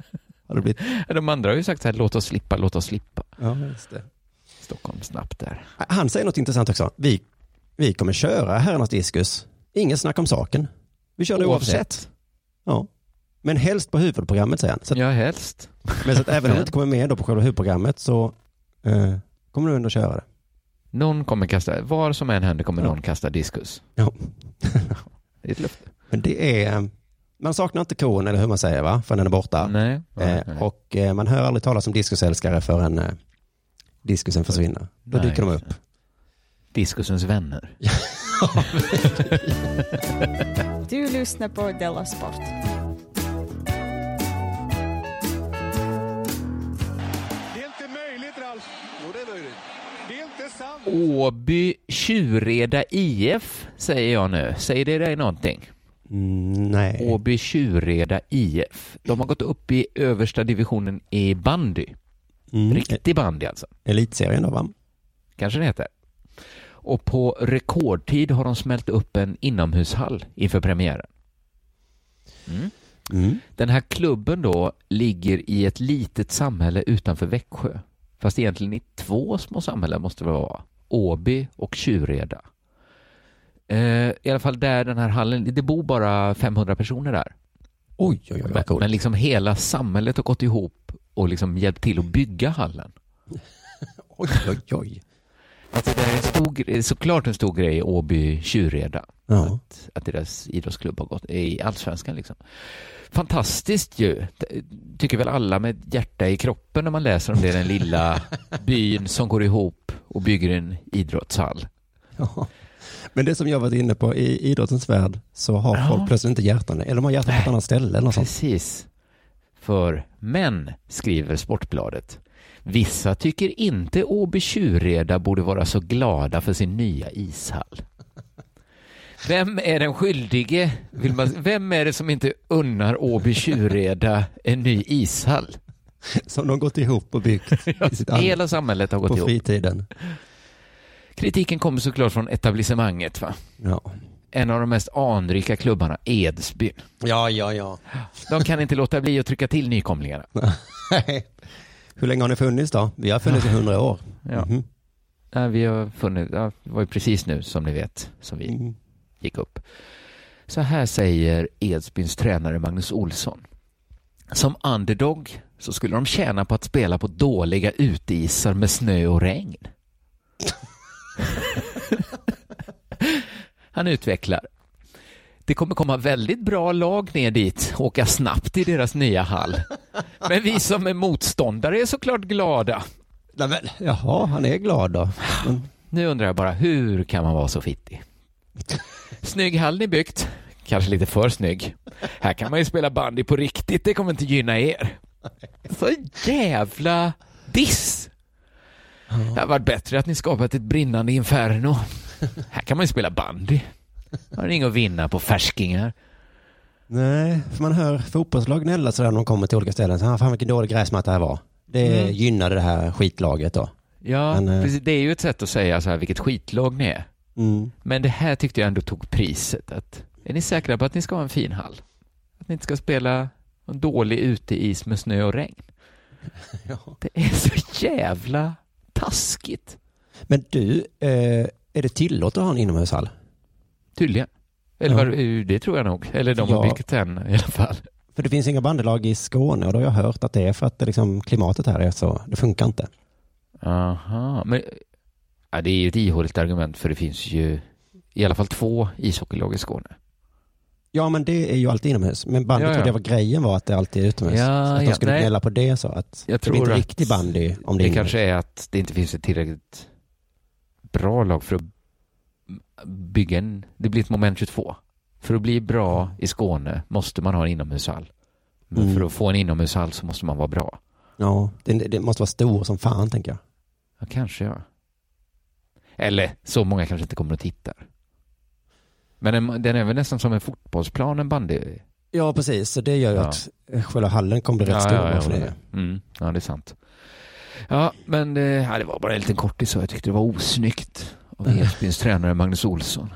Speaker 3: har det blivit?
Speaker 2: De andra har ju sagt så här, låt oss slippa, låt oss slippa.
Speaker 3: Ja, just det.
Speaker 2: Stockholm snabbt där.
Speaker 3: Han säger något intressant också. Vi, vi kommer köra herrarnas diskus. Inget snack om saken. Vi kör det oavsett. Ja. Men helst på huvudprogrammet säger han. Så att,
Speaker 2: Ja, helst.
Speaker 3: Men så att även om du inte kommer med då på själva huvudprogrammet så eh, kommer du ändå köra det.
Speaker 2: Någon kommer kasta, var som än händer kommer
Speaker 3: Ja.
Speaker 2: någon kasta diskus.
Speaker 3: Ja.
Speaker 2: Det är ett löfte.
Speaker 3: Men det är, eh, man saknar inte kon eller hur man säger va, förrän den är borta.
Speaker 2: Nej. nej, nej.
Speaker 3: Eh, och eh, man hör aldrig talas om diskusälskare förrän eh, diskusen försvinner. Då
Speaker 2: Nej,
Speaker 3: dyker de
Speaker 2: just
Speaker 3: upp.
Speaker 2: Diskusens vänner.
Speaker 1: Du lyssnar på Della Sport.
Speaker 5: Det är inte möjligt, Ralf. Jo, det är möjligt. Det är inte sant.
Speaker 2: Åby Tjureda IF säger jag nu. Säger det dig någonting?
Speaker 3: Mm, nej.
Speaker 2: Åby Tjureda IF. De har gått upp i översta divisionen i bandy.
Speaker 3: Mm. E-
Speaker 2: Riktig bandy alltså.
Speaker 3: Elitserien då va?
Speaker 2: Kanske det heter. Och på rekordtid har de smält upp en inomhushall inför premiären.
Speaker 3: Mm.
Speaker 2: Den här klubben då ligger i ett litet samhälle utanför Växjö. Fast egentligen i två små samhällen måste det vara. Åby och Tjureda. Eh, I alla fall där den här hallen, det bor bara 500 personer där.
Speaker 3: Oj, oj, oj, vad coolt.
Speaker 2: Men liksom hela samhället har gått ihop och liksom hjälpt till att bygga hallen.
Speaker 3: Oj, oj, oj.
Speaker 2: Alltså det är en stor, gre- såklart en stor grej i Åby Tjureda.
Speaker 3: Ja.
Speaker 2: att deras idrottsklubb har gått i allsvenskan. Liksom. Fantastiskt ju, T- tycker väl alla med ett hjärta i kroppen när man läser om det, den lilla byn som går ihop och bygger en idrottshall.
Speaker 3: Ja. Men det som jag varit inne på i idrottens värld så har
Speaker 2: Ja.
Speaker 3: folk plötsligt inte hjärtan, eller de har hjärtan på ett annat ställe eller något sånt.
Speaker 2: Precis. För män, skriver Sportbladet, vissa tycker inte Åby Tjureda borde vara så glada för sin nya ishall. Vem är den skyldige? Vill man, vem är det som inte unnar Åby Tjureda en ny ishall?
Speaker 3: Som de gått ihop och byggt i sitt
Speaker 2: Hela samhället har gått
Speaker 3: på
Speaker 2: ihop.
Speaker 3: fritiden.
Speaker 2: Kritiken kommer såklart från etablissemanget. Va?
Speaker 3: Ja.
Speaker 2: En av de mest anrika klubbarna, Edsbyn.
Speaker 3: ja, ja, ja.
Speaker 2: De kan inte låta bli att trycka till nykomlingarna.
Speaker 3: Hur länge har ni funnits då? Vi har funnits i hundra år.
Speaker 2: Ja.
Speaker 3: Mhm.
Speaker 2: Nej, vi har funnit, ja, det var ju precis nu som ni vet som vi
Speaker 3: Mm.
Speaker 2: gick upp. Så här säger Edsbyns tränare Magnus Olsson. Som underdog så skulle de tjäna på att spela på dåliga uteisar med snö och regn. Han utvecklar. Det kommer komma väldigt bra lag ner dit och åka snabbt i deras nya hall. Men vi som är motståndare är såklart glada.
Speaker 3: Nej, men, jaha, han är glad då.
Speaker 2: Nu undrar jag bara, hur kan man vara så fittig? Snygg hall ni byggt. Kanske lite för snygg. Här kan man ju spela bandy på riktigt, det kommer inte gynna er. Så jävla diss! Det hade varit bättre att ni skapat ett brinnande inferno. Här kan man ju spela bandy. Har ni inget att vinna på färskingar.
Speaker 3: Nej, för man hör fotbollslag gnälla sådär när de kommer till olika ställen. Så, "Ah, fan vilken dålig gräsmatta det här var. Det
Speaker 2: Mm.
Speaker 3: gynnade det här skitlaget då.
Speaker 2: Ja,
Speaker 3: Men, eh,
Speaker 2: precis, det är ju ett sätt att säga så här, vilket skitlag ni är.
Speaker 3: Mm.
Speaker 2: Men det här tyckte jag ändå tog priset. Att, är ni säkra på att ni ska ha en fin hall? Att ni inte ska spela en dålig uteis med snö och regn? Det är så jävla taskigt.
Speaker 3: Men du, eh, är det tillåtet att ha en inomhushall?
Speaker 2: Tydligen. Eller
Speaker 3: Ja.
Speaker 2: vad- det tror jag nog. Eller de har
Speaker 3: Ja.
Speaker 2: byggt den i alla fall.
Speaker 3: För det finns inga bandelag i Skåne och då har jag hört att det är för att det liksom, klimatet här är så, det funkar inte.
Speaker 2: Aha, men ja, det är ju ett ihåligt argument för det finns ju i alla fall två ishockeylag i Skåne.
Speaker 3: Ja, men det är ju alltid inomhus. Men bandy
Speaker 2: Ja, ja.
Speaker 3: trodde jag var grejen var att det alltid är utomhus.
Speaker 2: Ja,
Speaker 3: Så att
Speaker 2: ja,
Speaker 3: de skulle
Speaker 2: nej.
Speaker 3: gnälla på det så att
Speaker 2: Jag
Speaker 3: det blir inte
Speaker 2: tror att
Speaker 3: riktig bandy om det,
Speaker 2: Det
Speaker 3: är
Speaker 2: kanske är att det inte finns ett tillräckligt bra lag för att bygga en, det blir ett moment 22. För att bli bra i Skåne måste man ha en inomhushall. Men
Speaker 3: Mm.
Speaker 2: för att få en inomhushall så måste man vara bra.
Speaker 3: Ja, det, det måste vara stor som fan tänker jag.
Speaker 2: Ja, kanske ja. Eller så många kanske inte kommer och tittar. Men den, den är väl nästan som en fotbollsplan, en bandy.
Speaker 3: Ja, precis. Så det gör ju
Speaker 2: Ja.
Speaker 3: att eh, själva hallen kommer bli rätt stor.
Speaker 2: ja,
Speaker 3: för
Speaker 2: ja,
Speaker 3: det.
Speaker 2: ja, mm, ja, det är sant. Ja, men eh, ja, det var bara en liten kortis så jag tyckte det var osnyggt av Edsbyns tränare Magnus Olsson.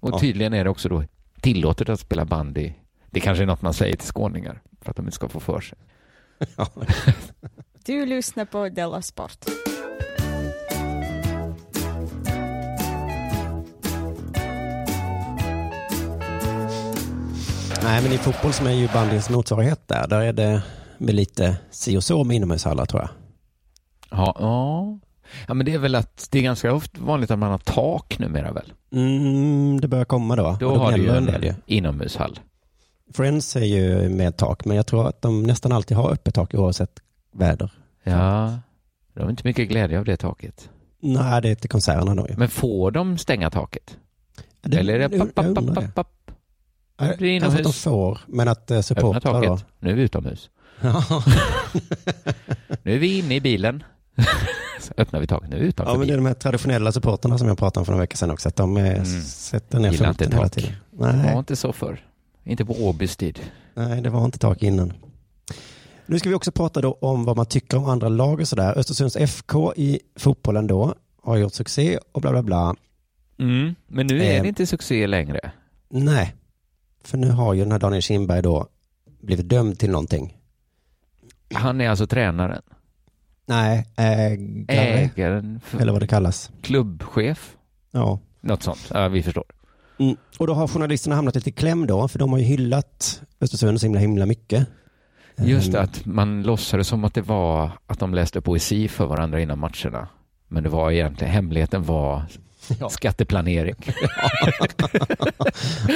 Speaker 2: Och
Speaker 3: Mm. Ja.
Speaker 2: tydligen är det också då tillåtet att spela bandy. Det kanske är något man säger till skåningar för att de inte ska få för sig.
Speaker 1: Du lyssnar på Della Sport.
Speaker 3: Nej, men i fotboll som är ju bandyns motsvarighet där, där är det med lite si och så med inomhushallar tror jag.
Speaker 2: Ja, ja. ja, men det är väl att det är ganska ofta vanligt att man har tak numera väl?
Speaker 3: Mm, det börjar komma då.
Speaker 2: Då
Speaker 3: Och
Speaker 2: har du
Speaker 3: gnäller
Speaker 2: ju
Speaker 3: en del
Speaker 2: en inomhushall.
Speaker 3: Friends är ju med tak, men jag tror att de nästan alltid har öppet tak oavsett väder.
Speaker 2: Ja, de har inte mycket glädje av det taket.
Speaker 3: Nej, det är till konserterna då ju.
Speaker 2: Men får de stänga taket?
Speaker 3: Det-
Speaker 2: Eller är det
Speaker 3: jag
Speaker 2: papp, papp,
Speaker 3: undrar
Speaker 2: papp,
Speaker 3: det.
Speaker 2: papp, papp?
Speaker 3: Nej,
Speaker 2: blir
Speaker 3: Kanske att de
Speaker 2: inomhus.
Speaker 3: får, men att eh,
Speaker 2: Öppna
Speaker 3: supportrar då.
Speaker 2: taket. Nu är vi utomhus.
Speaker 3: Ja,
Speaker 2: Nu är vi inne i bilen. Så öppnar vi taket. Nu är vi utanför
Speaker 3: ja, men det är
Speaker 2: bilen.
Speaker 3: de här traditionella supporterna som jag pratade om för några veckor sedan också. Att de eh,
Speaker 2: Mm.
Speaker 3: sätter ner
Speaker 2: Gillar inte
Speaker 3: foten hela
Speaker 2: tak.
Speaker 3: tiden.
Speaker 2: Det var
Speaker 3: Nej,
Speaker 2: inte så förr. Inte på Åbys tid.
Speaker 3: nej, det var inte tak innan. Nu ska vi också prata då om vad man tycker om andra lag och sådär. Östersunds FK i fotbollen då har gjort succé och bla bla bla.
Speaker 2: Mm, Men nu är
Speaker 3: Eh.
Speaker 2: det inte succé längre.
Speaker 3: Nej, för nu har ju den här Daniel Kindberg då blivit dömd till någonting.
Speaker 2: Han är alltså tränaren.
Speaker 3: Nej,
Speaker 2: Eh,
Speaker 3: ägare,
Speaker 2: Ägaren. f-
Speaker 3: eller vad det kallas.
Speaker 2: Klubbchef.
Speaker 3: Ja.
Speaker 2: Något sånt. Ja, vi förstår.
Speaker 3: Mm. Och då har journalisterna hamnat lite i kläm då, för de har ju hyllat Östersund så himla, himla mycket.
Speaker 2: Just
Speaker 3: Ehm,
Speaker 2: det, att man låtsades som att det var att de läste poesi för varandra innan matcherna. Men det var egentligen, hemligheten var
Speaker 3: Ja.
Speaker 2: skatteplanering.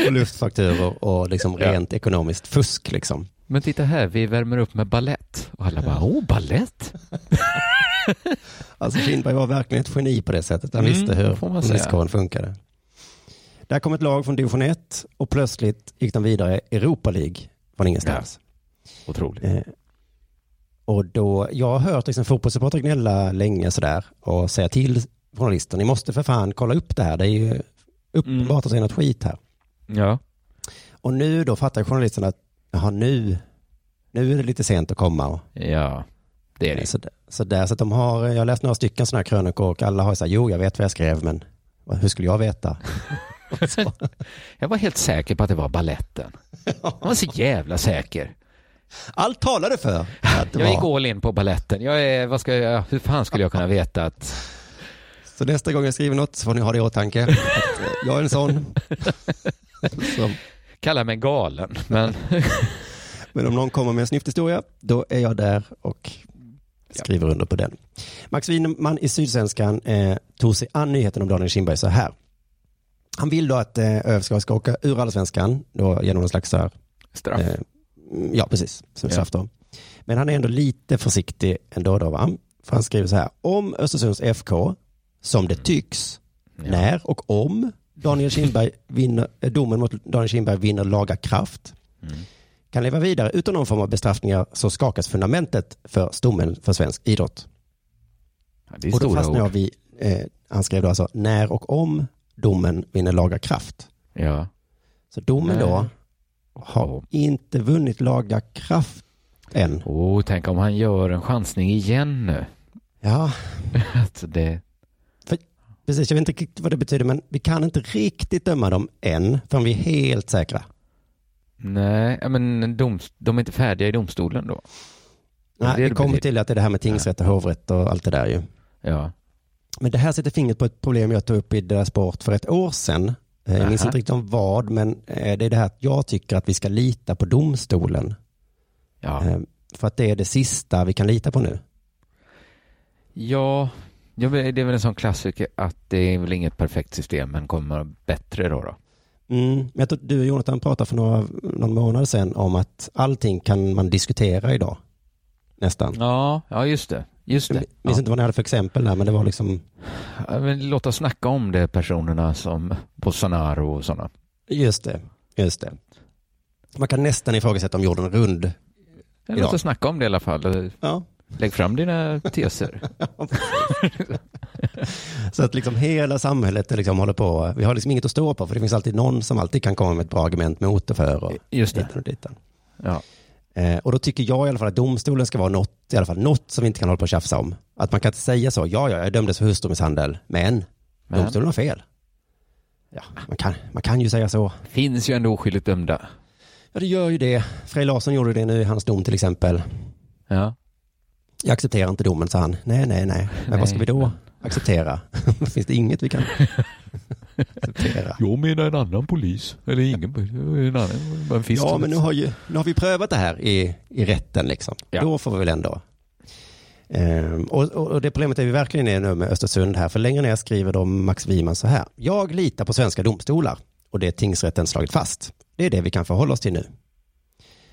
Speaker 3: Och luftfakturor och liksom
Speaker 2: Ja.
Speaker 3: rent ekonomiskt fusk liksom.
Speaker 2: Men titta här, vi värmer upp med ballett. Och alla bara, åh, ballett?
Speaker 3: Alltså Kindberg var verkligen ett geni på det sättet. Han
Speaker 2: Mm,
Speaker 3: visste hur
Speaker 2: får man säga.
Speaker 3: journalistkåren funkade. Där kom ett lag från division 1 och plötsligt gick de vidare i Europa League från ingenstans.
Speaker 2: Otroligt.
Speaker 3: Eh, Och då, jag har hört liksom fotbollssupportrar gnälla länge sådär och säga till journalister, ni måste för fan kolla upp det här, det är ju
Speaker 2: Mm.
Speaker 3: uppenbart att det är något skit här.
Speaker 2: Ja.
Speaker 3: Och nu då fattar journalisterna att, jaha nu, nu är det lite sent att komma. Och,
Speaker 2: Ja, det är det.
Speaker 3: så, så, där, så att de har, eh, jag har läst några stycken sådana här krönikor och alla har sagt, jo jag vet vad jag skrev men vad- hur skulle jag veta?
Speaker 2: Jag var helt säker på att det var balletten. Jag var så jävla säker.
Speaker 3: Allt talade för att det
Speaker 2: Jag gick
Speaker 3: var.
Speaker 2: all in på balletten. Jag är, vad ska jag, hur fan skulle jag kunna veta att...
Speaker 3: Så nästa gång jag skriver något så får ni ha det i åtanke. Att, eh, jag är en sån. Som,
Speaker 2: Kalla mig galen, men
Speaker 3: men om någon kommer med en snyfthistoria, då är jag där och skriver under på den. Max Winman i Sydsvenskan eh, tog sig an nyheten om Daniel Kindberg så här. Han vill då att eh, ÖF ska ska åka ur allsvenskan då genom någon slags så här
Speaker 2: straff.
Speaker 3: Eh, mm, ja, precis. Som
Speaker 2: Ja.
Speaker 3: straff då. Men han är ändå lite försiktig ändå då, va? För han skriver så här, om Östersunds FK, som det
Speaker 2: Mm.
Speaker 3: tycks, när och om Daniel Kindberg vinner, eh, domen mot Daniel Kindberg vinner laga kraft,
Speaker 2: Mm.
Speaker 3: kan leva vidare utan någon form av bestraffningar så skakas fundamentet för stommen för svensk idrott.
Speaker 2: Ja, det är
Speaker 3: Och då
Speaker 2: stora
Speaker 3: fastnar jag
Speaker 2: ord.
Speaker 3: vid, eh, han skrev då alltså, när och om domen vinner laga kraft.
Speaker 2: Ja.
Speaker 3: Så domen
Speaker 2: Nej.
Speaker 3: då har inte vunnit laga kraft än.
Speaker 2: Åh, Oh, tänk om han gör en chansning igen nu.
Speaker 3: Ja,
Speaker 2: Alltså det...
Speaker 3: Precis, jag vet inte riktigt vad det betyder, men vi kan inte riktigt döma dem än förrän vi är helt säkra.
Speaker 2: Nej, ja, men doms, de är inte färdiga i domstolen då.
Speaker 3: Nej,
Speaker 2: det
Speaker 3: vi
Speaker 2: det
Speaker 3: kommer
Speaker 2: betyder.
Speaker 3: till att det är det här med tingsrätt och hovrätt och allt det där ju.
Speaker 2: Ja.
Speaker 3: Men det här sätter fingret på ett problem jag tog upp i deras Sport för ett år sedan. Eh, Jag minns
Speaker 2: Aha.
Speaker 3: inte riktigt om vad, men eh, det är det här att jag tycker att vi ska lita på domstolen.
Speaker 2: Ja.
Speaker 3: Eh, För att det är det sista vi kan lita på nu.
Speaker 2: Ja, ja, men det är väl en sån klassiker att det är väl inget perfekt system men kommer bättre då. då.
Speaker 3: Mm, men jag tror du och Jonathan pratade för några, någon månad sedan om att allting kan man diskutera idag. Nästan.
Speaker 2: Ja, ja just det. Just
Speaker 3: Jag
Speaker 2: det.
Speaker 3: minns
Speaker 2: Ja.
Speaker 3: inte vad ni hade för exempel där, men det var liksom,
Speaker 2: Ja, men låt oss snacka om det personerna som Bolsonaro och sådana.
Speaker 3: just det, just det. Man kan nästan ifrågasätta om jorden är rund.
Speaker 2: Ja,
Speaker 3: Ja.
Speaker 2: Låt oss snacka om det i alla fall.
Speaker 3: Ja.
Speaker 2: Lägg fram dina teser.
Speaker 3: Så att liksom hela samhället är liksom håller på, vi har liksom inget att stå på, för det finns alltid någon som alltid kan komma med ett bra argument mot och för och
Speaker 2: Just det.
Speaker 3: ditan och ditan.
Speaker 2: Ja.
Speaker 3: Eh, och då tycker jag i alla fall att domstolen ska vara något, i alla fall något som vi inte kan hålla på och tjafsa om. Att man kan inte säga så, ja, ja, jag dömdes för hustrumisshandel, men,
Speaker 2: Men.
Speaker 3: domstolen har fel. Ja, man kan, man kan ju säga så.
Speaker 2: Finns ju ändå oskyldigt dömda.
Speaker 3: Ja, det gör ju det. Frej Larsson gjorde det nu i hans dom till exempel.
Speaker 2: Ja.
Speaker 3: Jag accepterar inte domen, sa han. Nej, nej, nej. Men vad ska
Speaker 2: Nej.
Speaker 3: vi då acceptera? Finns det inget vi kan acceptera?
Speaker 2: Jag menar en annan polis. Eller ingen polis. En annan. Men finns
Speaker 3: Ja, men nu har, ju, nu har vi prövat det här i, i rätten liksom.
Speaker 2: Ja.
Speaker 3: Då får vi väl ändå. Ehm, och, och och det problemet är vi verkligen är nu med Östersund här, för längre ner skriver de Max Wiman så här. Jag litar på svenska domstolar och det är tingsrätten slagit fast. Det är det vi kan förhålla oss till nu.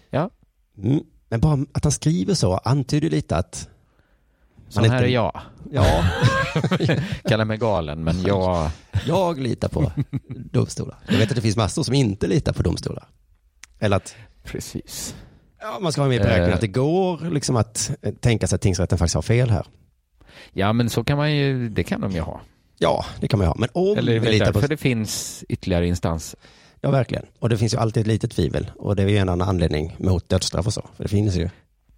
Speaker 2: Ja.
Speaker 3: Mm. Men bara att han skriver så antyder lite att,
Speaker 2: Sån
Speaker 3: man är
Speaker 2: här är
Speaker 3: inte-
Speaker 2: jag.
Speaker 3: ja,
Speaker 2: Kalla mig galen, men jag...
Speaker 3: jag litar på domstolar. Jag vet att det finns massor som inte litar på domstolar. Eller att
Speaker 2: Precis.
Speaker 3: Ja, man ska ha med i beräkningen
Speaker 2: Eh.
Speaker 3: att det går liksom att eh, tänka sig att tingsrätten faktiskt har fel här.
Speaker 2: Ja, men så kan man ju... Det kan de ju ha.
Speaker 3: Ja, det kan man ju ha. Men om
Speaker 2: Eller
Speaker 3: vi
Speaker 2: det är
Speaker 3: litar
Speaker 2: därför
Speaker 3: på...
Speaker 2: det finns ytterligare instanser.
Speaker 3: Ja, verkligen. Och det finns ju alltid ett litet tvivel. Och det är ju en annan anledning mot dödsstraff och så. För det finns ju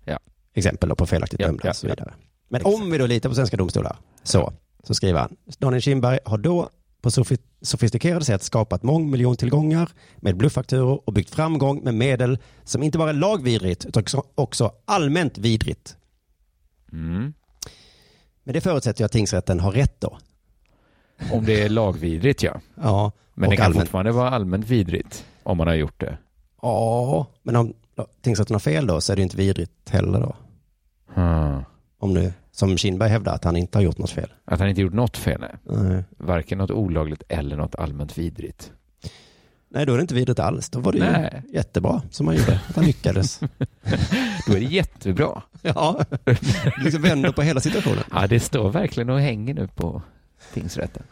Speaker 2: Ja.
Speaker 3: exempel då på felaktigt
Speaker 2: Ja,
Speaker 3: dömda
Speaker 2: ja,
Speaker 3: och så vidare. Men
Speaker 2: Exakt.
Speaker 3: om vi då litar på svenska domstolar, så, så skriver han. Daniel Kindberg har då på sofi- sofistikerade sätt skapat mångmiljontillgångar med blufffakturor och byggt framgång med medel som inte bara är lagvidrigt utan också- också allmänt vidrigt.
Speaker 2: Mm.
Speaker 3: Men det förutsätter ju att tingsrätten har rätt då.
Speaker 2: Om det är lagvidrigt, ja.
Speaker 3: Ja,
Speaker 2: Men
Speaker 3: och
Speaker 2: det kan
Speaker 3: allmänt.
Speaker 2: fortfarande vara allmänt vidrigt om man har gjort det.
Speaker 3: Ja, men om ja, tingsrätten har fel då så är det ju inte vidrigt heller då.
Speaker 2: Hmm.
Speaker 3: Om nu, som Kinberg hävdar, att han inte har gjort något fel.
Speaker 2: Att han inte gjort något fel, nej.
Speaker 3: Nej.
Speaker 2: varken något olagligt eller något allmänt vidrigt.
Speaker 3: Nej, då är det inte vidrigt alls. Då var det
Speaker 2: Nej.
Speaker 3: ju jättebra som han gjorde, att han lyckades.
Speaker 2: Då är det jättebra.
Speaker 3: ja, liksom vänder på hela situationen.
Speaker 2: Ja, det står verkligen och hänger nu på tingsrätten.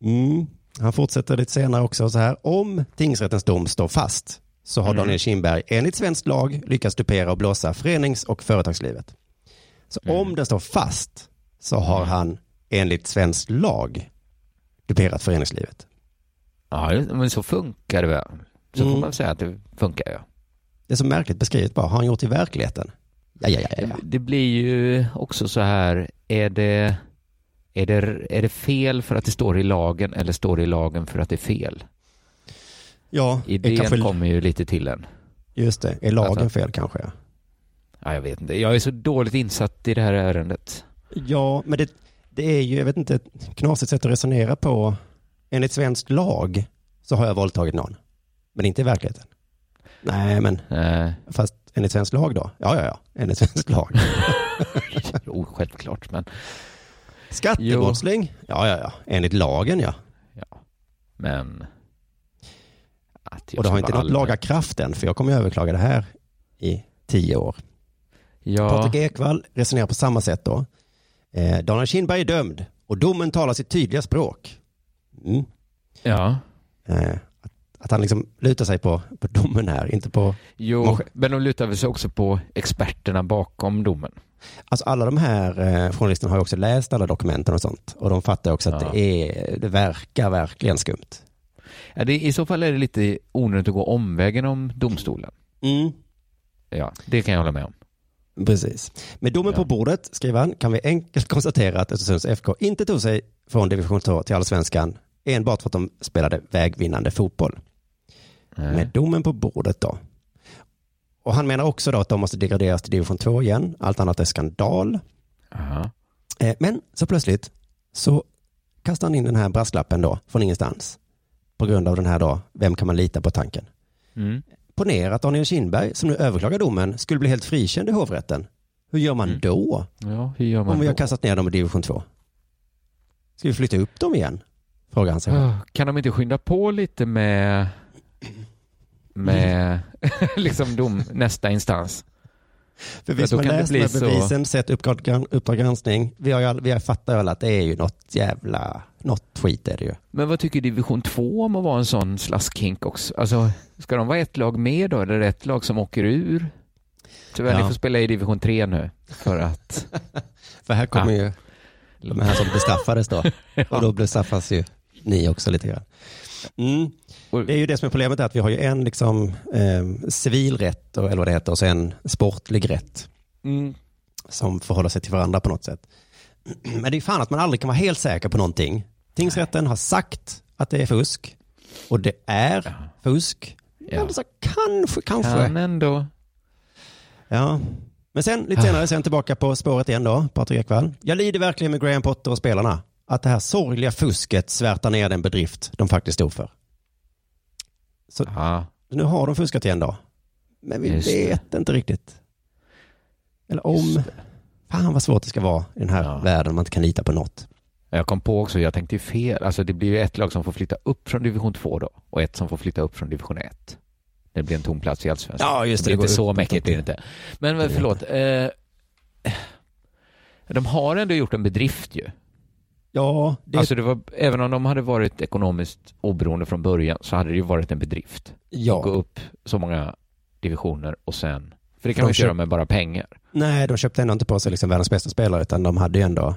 Speaker 3: Mm. Han fortsätter lite senare också så här. Om tingsrättens dom står fast så har
Speaker 2: Mm.
Speaker 3: Daniel Kindberg enligt svensk lag lyckats dupera och blåsa förenings och företagslivet. Så
Speaker 2: Mm.
Speaker 3: om den står fast så har han enligt svensk lag duperat föreningslivet.
Speaker 2: Ja, just- men så funkar det väl. Så får
Speaker 3: Mm.
Speaker 2: man säga att det funkar, ja.
Speaker 3: Det är så märkligt beskrivet bara. Har han gjort i verkligheten? Ja, ja, ja, ja, ja.
Speaker 2: Det blir ju också så här, är det, är, det, är det fel för att det står i lagen eller står det i lagen för att det är fel?
Speaker 3: Ja, är
Speaker 2: Idén
Speaker 3: kanske,
Speaker 2: kommer ju lite till en.
Speaker 3: just det. Är lagen fel kanske? Ja,
Speaker 2: Ja, jag vet inte, jag är så dåligt insatt i det här ärendet.
Speaker 3: ja men det, det är ju, jag vet inte, ett knasigt sätt att resonera på. Enligt svensk lag så har jag våldtagit någon. Men inte i verkligheten. Nej, men
Speaker 2: Eh,
Speaker 3: fast enligt svensk lag då? Ja, ja, ja. Enligt svensk lag.
Speaker 2: jo, självklart, men,
Speaker 3: Skattebrottsling? Ja, ja, ja. Enligt lagen ja.
Speaker 2: men att jag
Speaker 3: Och det har
Speaker 2: ska
Speaker 3: inte
Speaker 2: vara
Speaker 3: nått
Speaker 2: allmän-
Speaker 3: laga kraft än, för jag kommer ju överklaga det här i tio år.
Speaker 2: Ja,
Speaker 3: Patrik Ekwall resonerar på samma sätt då. Eh, Daniel Kindberg är dömd och domen talar sitt tydliga språk. Mm.
Speaker 2: ja.
Speaker 3: Eh, att, att han liksom lutar sig på, på domen här, inte på...
Speaker 2: Jo,
Speaker 3: Måste-
Speaker 2: men de lutar väl sig också på experterna bakom domen.
Speaker 3: Alltså alla de här eh, journalisterna har ju också läst alla dokumenten och sånt. Och de fattar också att
Speaker 2: Ja.
Speaker 3: det, är, det verkar verkligen skumt.
Speaker 2: Ja, det, I så fall är det lite onödigt att gå omvägen om domstolen. Mm. Ja, det kan jag hålla med om.
Speaker 3: Precis. Med domen
Speaker 2: Ja.
Speaker 3: på bordet, skriver han, kan vi enkelt konstatera att Östersunds FK inte tog sig från division 2 till allsvenskan enbart för att de spelade vägvinnande fotboll.
Speaker 2: Nej.
Speaker 3: Med domen på bordet då. Och han menar också då att de måste degraderas till division 2 igen, allt annat är skandal.
Speaker 2: Aha.
Speaker 3: Eh, Men så plötsligt så kastar han in den här brasklappen då, från ingenstans. På grund av den här då, vem kan man lita på tanken?
Speaker 2: Mm.
Speaker 3: Ponera att Daniel Kindberg, som nu överklagar domen, skulle bli helt frikänd i hovrätten. Hur gör man
Speaker 2: Mm.
Speaker 3: då?
Speaker 2: Ja, hur gör man
Speaker 3: Om vi har
Speaker 2: då?
Speaker 3: kastat ner dem i division 2? Ska vi flytta upp dem igen? Frågar han sig.
Speaker 2: Ah, Kan de inte skynda på lite med, med liksom dom, nästa instans?
Speaker 3: För vi
Speaker 2: Ja,
Speaker 3: som
Speaker 2: då
Speaker 3: har
Speaker 2: kan det
Speaker 3: läst de
Speaker 2: bli
Speaker 3: här
Speaker 2: så-
Speaker 3: bevisen, sett Uppdrag gran- Uppdrag granskning, vi har, ju all, vi har fattat väl att det är ju något jävla, något skit är det ju.
Speaker 2: Men vad tycker division 2 om att vara en sån slaskhink också? Alltså, ska de vara ett lag med då? Eller ett lag som åker ur? Tyvärr,
Speaker 3: Ja.
Speaker 2: ni får spela i division 3 nu. För att...
Speaker 3: För här kommer
Speaker 2: Ja.
Speaker 3: ju de här som bestraffades då. Och då bestraffas ju ni också lite grann. Mm.
Speaker 2: Och-
Speaker 3: Det är ju det som är problemet, att vi har ju en liksom, eh, civilrätt, eller vad det heter, och så en sportlig rätt
Speaker 2: Mm.
Speaker 3: som förhåller sig till varandra på något sätt. Men det är fan att man aldrig kan vara helt säker på någonting. Tingsrätten har sagt att det är fusk, och det är fusk.
Speaker 2: Ja.
Speaker 3: Men så kanske, kanske.
Speaker 2: Kan ändå...
Speaker 3: Ja. Men sen, lite senare, sen tillbaka på spåret igen då, Patrik Ekwall. Jag lider verkligen med Graham Potter och spelarna. Att det här sorgliga fusket svärtar ner den bedrift de faktiskt stod för.
Speaker 2: Ja.
Speaker 3: Nu har de fuskat igen då. Men vi
Speaker 2: Just det.
Speaker 3: vet inte riktigt. Eller om. Fan vad svårt det ska vara i den här
Speaker 2: Ja.
Speaker 3: världen om man inte kan lita på något.
Speaker 2: Jag kom på också, jag tänkte ju fel. Alltså det blir ju ett lag som får flytta upp från division 2 då och ett som får flytta upp från division 1. Det blir en tom plats i allsvenskan.
Speaker 3: Ja, just
Speaker 2: Alltså, Det
Speaker 3: det.
Speaker 2: blir
Speaker 3: Det går
Speaker 2: inte så
Speaker 3: upp, upp,
Speaker 2: mäckigt
Speaker 3: upp.
Speaker 2: blir det inte. Men vad- förlåt. Eh, de har ändå gjort en bedrift ju.
Speaker 3: Ja, det,
Speaker 2: Alltså det var, även om de hade varit ekonomiskt oberoende från början så hade det ju varit en bedrift. Gå
Speaker 3: ja.
Speaker 2: upp så många divisioner och sen... För det kan
Speaker 3: De
Speaker 2: man inte
Speaker 3: kör-
Speaker 2: göra med bara pengar.
Speaker 3: Nej, de köpte ändå inte på sig liksom världens bästa spelare utan de hade ju ändå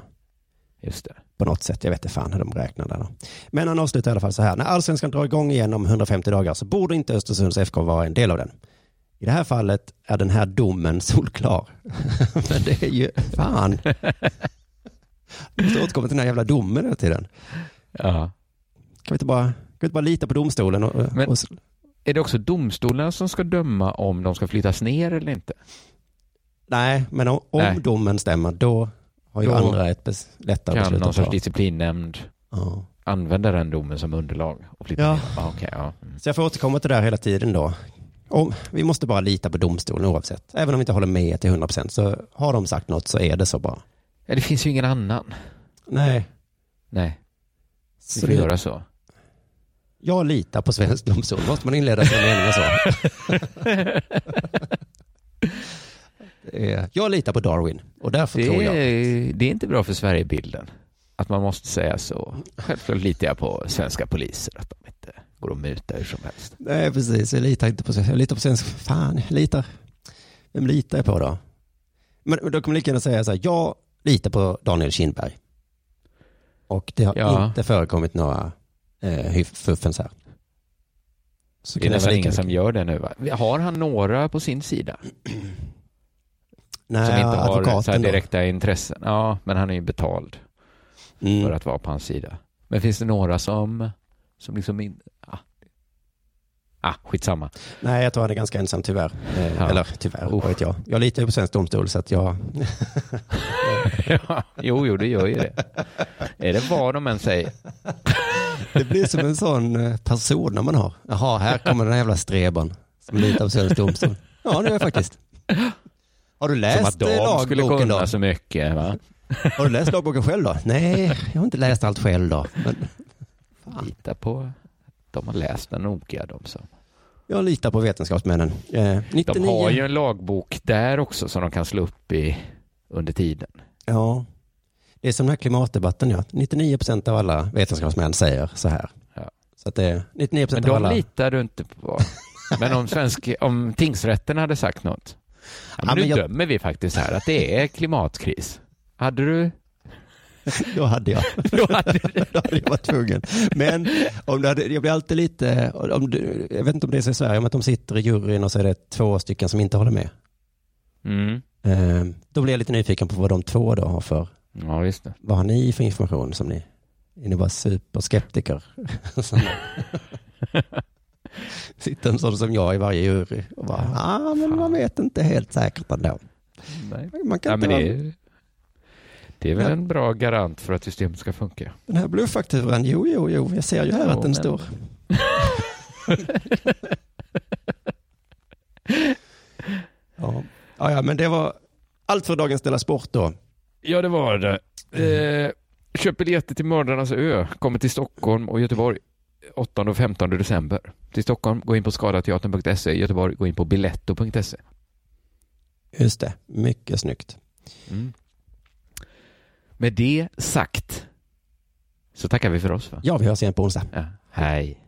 Speaker 2: Just det.
Speaker 3: på något sätt. Jag vet inte fan hur de räknar där. då. Men han avslutar i alla fall så här. När allsvenskan drar igång igen om 150 dagar så borde inte Östersunds FK vara en del av den. I det här fallet är den här domen solklar. Men det är ju fan. Du måste återkomma till den här jävla domen hela tiden.
Speaker 2: Ja.
Speaker 3: Kan vi inte bara, kan vi inte bara lita på domstolen? Och, och,
Speaker 2: Men- Är det också domstolarna som ska döma om de ska flyttas ner eller inte?
Speaker 3: nej, men om, om
Speaker 2: Nej.
Speaker 3: domen stämmer då har ju
Speaker 2: Då
Speaker 3: andra ett bes, lättare
Speaker 2: Kan
Speaker 3: beslut
Speaker 2: någon
Speaker 3: att ta.
Speaker 2: sorts disciplinnämnd
Speaker 3: Ja.
Speaker 2: använda den domen som underlag och flytta
Speaker 3: Ja.
Speaker 2: ner? Ah, okej, ja. Mm.
Speaker 3: Så jag får återkomma till det här hela tiden då. Om, vi måste bara lita på domstolen oavsett. Även om vi inte håller med till 100% så har de sagt något så är det så bara.
Speaker 2: ja, det finns ju ingen annan.
Speaker 3: Nej.
Speaker 2: Nej, vi
Speaker 3: Så
Speaker 2: får
Speaker 3: det,
Speaker 2: göra så.
Speaker 3: jag litar på svensk domstol. Måste man inleda sina meningar så? Det är- jag litar på Darwin och därför tror
Speaker 2: Det
Speaker 3: jag.
Speaker 2: är, det är inte bra för Sverigebilden att man måste säga så. Självklart litar jag på svenska poliser, att de inte går att muta hur som helst.
Speaker 3: Nej, precis. Jag litar inte på svensk. Jag litar på svensk. Fan, jag litar. Vem litar jag på då? Men då kommer jag lika gärna säga så här, jag litar på Daniel Kindberg. Och det har
Speaker 2: Ja.
Speaker 3: inte förekommit några eh, hyf- fuffens här. Så
Speaker 2: Det är
Speaker 3: kan jag
Speaker 2: nästan
Speaker 3: väl lika-
Speaker 2: ingen som gör det nu va? Har han några på sin sida?
Speaker 3: Nej,
Speaker 2: som inte har så här
Speaker 3: advokaten då.
Speaker 2: direkta intressen? Ja, men han är ju betald
Speaker 3: Mm.
Speaker 2: för att vara på hans sida. Men finns det några som, som liksom inte... Ah. ah, skitsamma.
Speaker 3: Nej, jag tror han är ganska ensam tyvärr. Eh,
Speaker 2: Ja.
Speaker 3: Eller tyvärr,
Speaker 2: Uff.
Speaker 3: vad vet jag. Jag litar ju på svensk domstol så att jag...
Speaker 2: Ja, jo, jo, det gör ju det. Är det vad de än säger?
Speaker 3: Det blir som en sån eh, person när man har. Jaha, här kommer den här jävla streben som litar på Svensk domstol. Ja, det gör jag faktiskt. Har du
Speaker 2: Som
Speaker 3: läst
Speaker 2: att
Speaker 3: eh,
Speaker 2: de skulle
Speaker 3: lagboken då?
Speaker 2: kunna så mycket. Va?
Speaker 3: Har du läst lagboken själv då? Nej, jag har inte läst allt själv då. Men
Speaker 2: Lita på att de har läst den noga. De, som.
Speaker 3: jag litar på vetenskapsmännen. Eh, 99.
Speaker 2: de har ju en lagbok där också som de kan slå upp i under tiden.
Speaker 3: Ja. Det är som den här klimatdebatten, ja. 99% av alla vetenskapsmän säger så här.
Speaker 2: Ja.
Speaker 3: Så att det är 99%
Speaker 2: Men
Speaker 3: av
Speaker 2: de
Speaker 3: alla...
Speaker 2: litar du inte på. Men om, svensk, om tingsrätten hade sagt något. Ja, men
Speaker 3: Ja,
Speaker 2: nu
Speaker 3: men jag-
Speaker 2: dömer vi faktiskt här att det är klimatkris. Hade du?
Speaker 3: Då hade jag.
Speaker 2: Då hade du
Speaker 3: Då hade jag varit tvungen. Men om det hade, jag blir alltid lite, om du, jag vet inte om det är så i Sverige, men att de sitter i juryn och så är det två stycken som inte håller med.
Speaker 2: mm.
Speaker 3: Eh, Då blir jag lite nyfiken på vad de två då har för,
Speaker 2: Ja, just det.
Speaker 3: vad har ni för information som ni, är ni bara superskeptiker? Som- Sitter en sån som jag i varje jury och bara, ah, men man vet inte helt säkert ändå.
Speaker 2: Nej.
Speaker 3: Man kan
Speaker 2: Ja,
Speaker 3: inte
Speaker 2: men
Speaker 3: vara,
Speaker 2: det, är, det är väl
Speaker 3: Ja.
Speaker 2: en bra garant för att systemet ska funka.
Speaker 3: den här bluffakturan, jo, jo, jo, jag ser ju här
Speaker 2: Jo,
Speaker 3: att den
Speaker 2: men-
Speaker 3: står. Ja, ja, men det var allt för dagens Della Sport då.
Speaker 2: Ja, det var det. Eh, köp biljetter till Mördarnas ö. Kommer till Stockholm och Göteborg 8 och 15 december. Till Stockholm, gå in på skadateatern.se. I Göteborg, gå in på biletto.se.
Speaker 3: Just det, mycket snyggt.
Speaker 2: Mm.
Speaker 6: Med det sagt så tackar vi för oss. Va?
Speaker 3: Ja, vi hörs igen på onsdag.
Speaker 6: Ja. Hej.